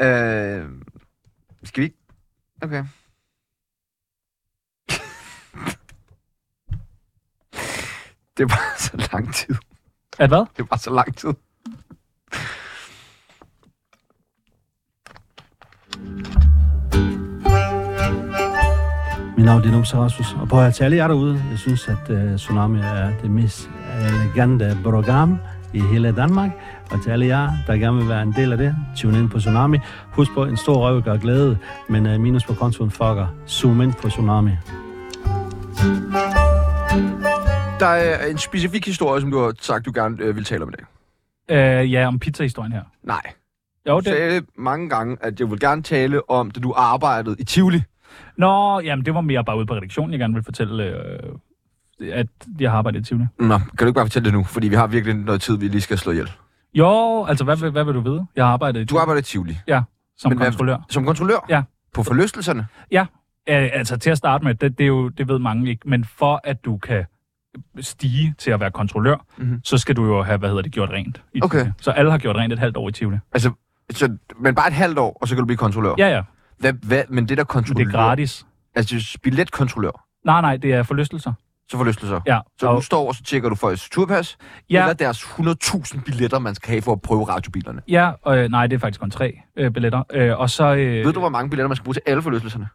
[SPEAKER 3] øh, skal vi ikke? Okay. det var så lang tid.
[SPEAKER 4] At hvad?
[SPEAKER 3] Det var så lang tid.
[SPEAKER 9] Mit navn det er Numse Rasmus, og prøv at høre til alle jer derude. Jeg synes, at uh, Tsunami er det mest elegante program i hele Danmark. Og til alle jer, der gerne vil være en del af det, tune ind på Tsunami. Husk på, en stor røv gør glæde, men uh, minus på kontoen fucker. Zoom ind på Tsunami.
[SPEAKER 3] Der er en specifik historie, som du har sagt, du gerne øh, vil tale om i dag.
[SPEAKER 4] Øh, ja, om pizzahistorien her.
[SPEAKER 3] Nej.
[SPEAKER 4] Jo,
[SPEAKER 3] Du
[SPEAKER 4] det-
[SPEAKER 3] sagde mange gange, at jeg vil gerne tale om, da du arbejdede i Tivoli.
[SPEAKER 4] Nå, jamen, det var mere bare ude på redaktionen, jeg gerne ville fortælle, øh, at jeg har arbejdet i Tivoli.
[SPEAKER 3] Nå, kan du ikke bare fortælle det nu? Fordi vi har virkelig noget tid, vi lige skal slå ihjel.
[SPEAKER 4] Jo, altså, hvad, vil- hvad vil du vide? Jeg har arbejdet i
[SPEAKER 3] Du arbejder i Tivoli.
[SPEAKER 4] Ja, som
[SPEAKER 3] Men hvad-
[SPEAKER 4] kontrollør.
[SPEAKER 3] Som kontrollør?
[SPEAKER 4] Ja.
[SPEAKER 3] På forlystelserne?
[SPEAKER 4] Ja, øh, altså til at starte med, det, det, er jo, det ved mange ikke, men for at du kan stige til at være kontrollør,
[SPEAKER 3] Mhm.
[SPEAKER 4] mm-hmm. så skal du jo have, hvad hedder det, gjort rent. I
[SPEAKER 3] Okay.
[SPEAKER 4] Tivoli. Så alle har gjort rent et halvt år i Tivoli.
[SPEAKER 3] Altså, så, men bare et halvt år, og så kan du blive kontrollør?
[SPEAKER 4] Ja, ja.
[SPEAKER 3] Hvad, hvad, men det der kontrollør...
[SPEAKER 4] Det er gratis.
[SPEAKER 3] Altså, det er billetkontrollør.
[SPEAKER 4] Nej, nej, det er forlystelser.
[SPEAKER 3] Så forlystelser.
[SPEAKER 4] Ja,
[SPEAKER 3] Så du
[SPEAKER 4] og-
[SPEAKER 3] står, og så tjekker du folks turpas,
[SPEAKER 4] Ja.
[SPEAKER 3] ja. eller deres 100.000 billetter, man skal have for at prøve radiobilerne.
[SPEAKER 4] Ja, og, øh, nej, det er faktisk kun tre øh, billetter. Øh, og så... Øh,
[SPEAKER 3] Ved du, hvor mange billetter man skal bruge til alle forlystelserne?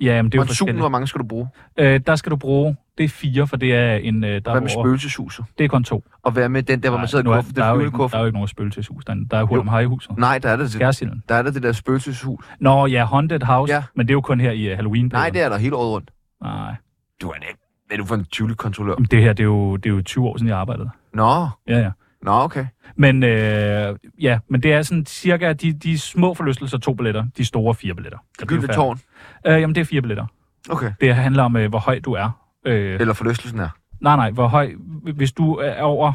[SPEAKER 4] Ja, men det er jo
[SPEAKER 3] Monsun,
[SPEAKER 4] forskelligt.
[SPEAKER 3] hvor mange skal du bruge?
[SPEAKER 4] Øh, der skal du bruge, det er fire, for det er en... Øh, der
[SPEAKER 3] Hvad med
[SPEAKER 4] er over-
[SPEAKER 3] spøgelseshuset?
[SPEAKER 4] Det er kun to.
[SPEAKER 3] Og hvad med den der, hvor man sidder i
[SPEAKER 4] nu er-
[SPEAKER 3] kufferten,
[SPEAKER 4] Der
[SPEAKER 3] den
[SPEAKER 4] er, jo ikke,
[SPEAKER 3] flyvende
[SPEAKER 4] der er jo ikke nogen spøgelseshus. Der er, der er hul
[SPEAKER 3] Jo.
[SPEAKER 4] om har i huset.
[SPEAKER 3] Nej, der er det.
[SPEAKER 4] Skærsilden.
[SPEAKER 3] Der er det, det der spøgelseshus.
[SPEAKER 4] Nå, ja, Haunted House, ja. men det er jo kun her i uh, halloween
[SPEAKER 3] Nej, det er der hele året rundt.
[SPEAKER 4] Nej.
[SPEAKER 3] Du er en, er du for en tvivlig kontrollør?
[SPEAKER 4] Jamen, det her, det er, jo, det er jo 20 år siden, jeg arbejdede.
[SPEAKER 3] Nå.
[SPEAKER 4] Ja, ja.
[SPEAKER 3] Nå, okay.
[SPEAKER 4] Men, øh, ja, men det er sådan cirka de, de små forlystelser, to billetter, de store fire billetter. Så det er jo
[SPEAKER 3] Gyldne
[SPEAKER 4] fair.
[SPEAKER 3] Tårn.
[SPEAKER 4] Øh, jamen, det er fire billetter.
[SPEAKER 3] Okay.
[SPEAKER 4] Det handler om, øh, hvor høj du er. Øh,
[SPEAKER 3] Eller forlystelsen er.
[SPEAKER 4] Nej, nej, hvor høj, hvis du er over,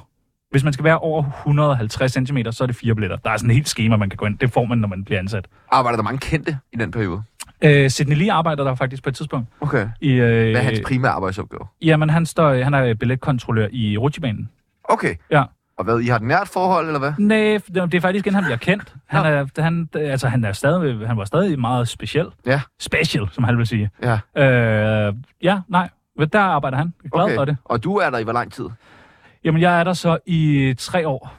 [SPEAKER 4] hvis man skal være over 150 cm, så er det fire billetter. Der er sådan et helt schema, man kan gå ind. Det får man, når man bliver ansat.
[SPEAKER 3] Arbejder Ah, der mange kendte i den periode?
[SPEAKER 4] Øh, Sidney Lee arbejder der faktisk på et tidspunkt.
[SPEAKER 3] Okay.
[SPEAKER 4] I, øh,
[SPEAKER 3] Hvad er hans primære arbejdsopgave?
[SPEAKER 4] Jamen, han, står, øh, han er billetkontrollør i rutsjebanen.
[SPEAKER 3] Okay.
[SPEAKER 4] Ja.
[SPEAKER 3] Og hvad, I har et nært forhold, eller hvad?
[SPEAKER 4] Nej, det er faktisk ikke, han bliver kendt. Han, er, han, altså, han, er stadig, han var stadig meget speciel.
[SPEAKER 3] Ja.
[SPEAKER 4] Special, som han vil sige.
[SPEAKER 3] Ja.
[SPEAKER 4] Øh, ja, nej. Men Der arbejder han. Jeg er glad
[SPEAKER 3] Okay.
[SPEAKER 4] for det.
[SPEAKER 3] Og du er der i hvor lang tid?
[SPEAKER 4] Jamen, jeg er der så i tre år.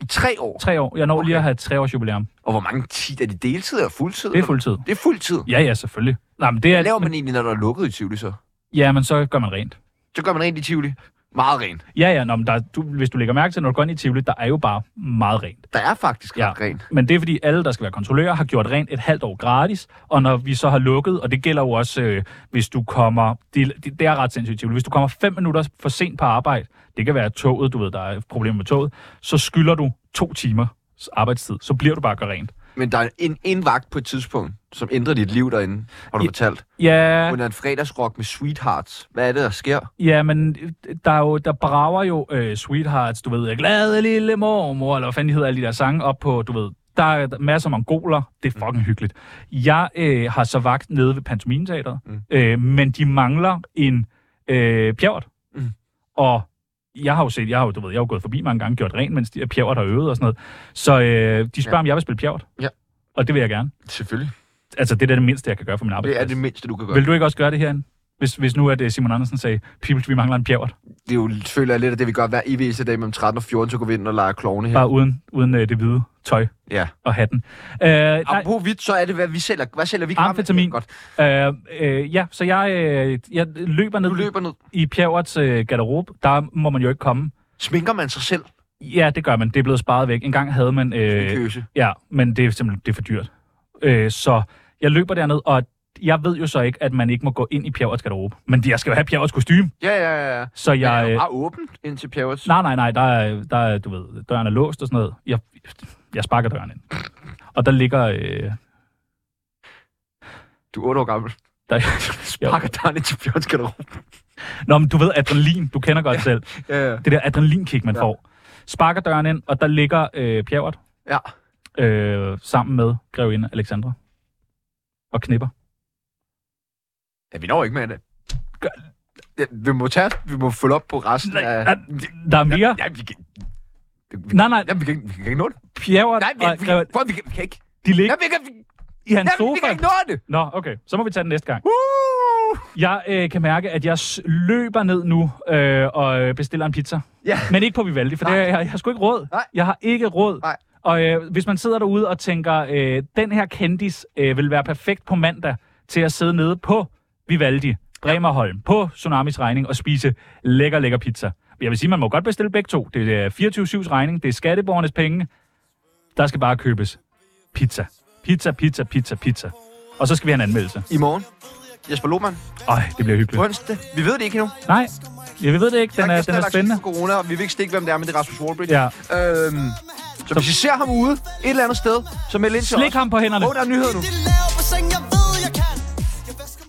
[SPEAKER 3] I tre år?
[SPEAKER 4] Tre år. Jeg når okay. lige at have et treårs jubilæum.
[SPEAKER 3] Og hvor mange tid er det deltid eller fuldtid?
[SPEAKER 4] Det er fuldtid.
[SPEAKER 3] Det er fuldtid?
[SPEAKER 4] Ja, ja, selvfølgelig. Nej, men det er...
[SPEAKER 3] Hvad laver man egentlig, når der er lukket i Tivoli så?
[SPEAKER 4] Ja, men så gør man rent.
[SPEAKER 3] Så gør man rent i Tivoli. Meget rent.
[SPEAKER 4] Ja, ja, nå, men der, du, hvis du lægger mærke til, når du går ind i Tivoli, der er jo bare meget rent.
[SPEAKER 3] Der er faktisk
[SPEAKER 4] ja.
[SPEAKER 3] rent.
[SPEAKER 4] Men det er fordi, alle, der skal være kontrollører, har gjort rent et halvt år gratis, og når vi så har lukket, og det gælder jo også, øh, hvis du kommer, det, det, det er ret sindssygt, i Tivoli. hvis du kommer fem minutter for sent på arbejde, det kan være toget, du ved, der er problemer med toget, så skylder du to timer arbejdstid, så bliver du bare at gøre rent.
[SPEAKER 3] Men der er en, en vagt på et tidspunkt, som ændrer dit liv derinde, har du fortalt.
[SPEAKER 4] Ja,
[SPEAKER 3] Hun er en fredagsrock med Sweethearts. Hvad er det, der sker?
[SPEAKER 4] Ja, men øh, der, er jo, der brager jo øh, Sweethearts, du ved, glade lille mormor, eller hvad fanden de hedder alle de der sange op på, du ved, der er masser af mongoler, det er
[SPEAKER 3] Mm.
[SPEAKER 4] fucking hyggeligt. Jeg øh, har så vagt nede ved Pantomineteateret, mm. øh, men de mangler en øh, pjævret.
[SPEAKER 3] Mm.
[SPEAKER 4] Og jeg har jo set, jeg har jo, du ved, jeg har jo gået forbi mange gange, gjort rent, mens de her pjævret har øvet og sådan noget. Så øh, de spørger, ja. om jeg vil spille pjævret.
[SPEAKER 3] Ja.
[SPEAKER 4] Og det vil jeg gerne.
[SPEAKER 3] Selvfølgelig.
[SPEAKER 4] Altså, det er da det mindste, jeg kan gøre for min
[SPEAKER 3] Det er
[SPEAKER 4] arbejdsplads.
[SPEAKER 3] det mindste, du kan gøre.
[SPEAKER 4] Vil du ikke også gøre det herinde? Hvis, hvis nu at øh, Simon Andersen sagde, Peoples, vi mangler en pjævret.
[SPEAKER 3] Det er jo, føler jeg lidt, at det vi gør hver evig eneste dag mellem 13 og 14, så går vi ind og leger klovne her.
[SPEAKER 4] Bare uden, uden øh, det hvide tøj
[SPEAKER 3] Ja.
[SPEAKER 4] og hatten. Øh,
[SPEAKER 3] Apropos hvidt, så er det, hvad vi sælger. Hvad sælger vi?
[SPEAKER 4] Amfetamin. Godt. Øh, øh, ja, så jeg, øh, jeg løber ned, du
[SPEAKER 3] løber ned.
[SPEAKER 4] i Pjerrets øh, garderobe. Der må man jo ikke komme.
[SPEAKER 3] Sminker man sig selv?
[SPEAKER 4] Ja, det gør man. Det er blevet sparet væk. En gang havde man... Øh,
[SPEAKER 3] Sminkøse.
[SPEAKER 4] ja, men det er simpelthen det er for dyrt. Øh, så jeg løber derned, og jeg ved jo så ikke, at man ikke må gå ind i Pjerrets garderobe. Men jeg skal jo have Pjerrets kostume.
[SPEAKER 3] Ja, ja, ja, ja.
[SPEAKER 4] Så
[SPEAKER 3] Men er
[SPEAKER 4] jeg...
[SPEAKER 3] det
[SPEAKER 4] øh,
[SPEAKER 3] bare åbent ind til Pjerrets?
[SPEAKER 4] Nej, nej, nej, der er, der er, du ved, døren er låst og sådan noget. Jeg, jeg sparker døren ind. Og der ligger... Øh,
[SPEAKER 3] Du er 8 år gammel.
[SPEAKER 4] der,
[SPEAKER 3] Pakker døren ind til Pjerrets garderobe.
[SPEAKER 4] Nå, men du ved, adrenalin, du kender godt ja, selv.
[SPEAKER 3] Ja, ja.
[SPEAKER 4] Det der adrenalinkick, man
[SPEAKER 3] Ja.
[SPEAKER 4] ja. får. Sparker døren ind, og der ligger øh, Pjerrot
[SPEAKER 3] Ja.
[SPEAKER 4] øh, sammen med grevinde Alexandra. Og knipper.
[SPEAKER 3] ja, vi når ikke med det. Ja, vi må tage, vi må følge op på resten nej, af...
[SPEAKER 4] Der er mere.
[SPEAKER 3] Ja, vi kan,
[SPEAKER 4] Nej, nej.
[SPEAKER 3] Jamen, vi kan, vi kan ikke nå det.
[SPEAKER 4] Pjerrot
[SPEAKER 3] Nej, vi,
[SPEAKER 4] og
[SPEAKER 3] vi,
[SPEAKER 4] grevinde...
[SPEAKER 3] kan, prøv, vi, kan, vi kan ikke.
[SPEAKER 4] De ligger
[SPEAKER 3] Jamen, vi kan, vi,
[SPEAKER 4] i hans
[SPEAKER 3] jamen,
[SPEAKER 4] sofa.
[SPEAKER 3] vi kan ikke nå det.
[SPEAKER 4] Nå, okay. Så må vi tage den næste gang.
[SPEAKER 3] Uh!
[SPEAKER 4] Jeg øh, kan mærke, at jeg s- løber ned nu øh, og øh, bestiller en pizza.
[SPEAKER 3] Ja.
[SPEAKER 4] Men ikke på Vivaldi, for det, jeg, jeg har sgu ikke råd.
[SPEAKER 3] Nej.
[SPEAKER 4] Jeg har ikke råd.
[SPEAKER 3] Nej.
[SPEAKER 4] Og øh, hvis man sidder derude og tænker, øh, den her kendis øh, vil være perfekt på mandag til at sidde nede på Vivaldi, Bremerholm, på Tsunamis regning og spise lækker, lækker pizza. Jeg vil sige, man må godt bestille begge to. Det er 24-7's regning, det er skatteborgernes penge. Der skal bare købes pizza. Pizza, pizza, pizza, pizza. Og så skal vi have en anmeldelse.
[SPEAKER 3] I morgen. Jesper Lohmann.
[SPEAKER 4] Øj, det bliver hyggeligt.
[SPEAKER 3] Onsdag. Vi ved det ikke endnu.
[SPEAKER 4] Nej, jeg ved det ikke. Den
[SPEAKER 3] Der
[SPEAKER 4] er,
[SPEAKER 3] ikke
[SPEAKER 4] den er
[SPEAKER 3] lagt
[SPEAKER 4] spændende.
[SPEAKER 3] for Corona, og vi vil ikke stikke, hvem det er, men det er Rasmus Warbrick.
[SPEAKER 4] Ja.
[SPEAKER 3] Øhm, så, så hvis I ser ham ude et eller andet sted, så meld ind til
[SPEAKER 4] Slik
[SPEAKER 3] os.
[SPEAKER 4] ham på hænderne.
[SPEAKER 3] Åh, der er nyheder nu.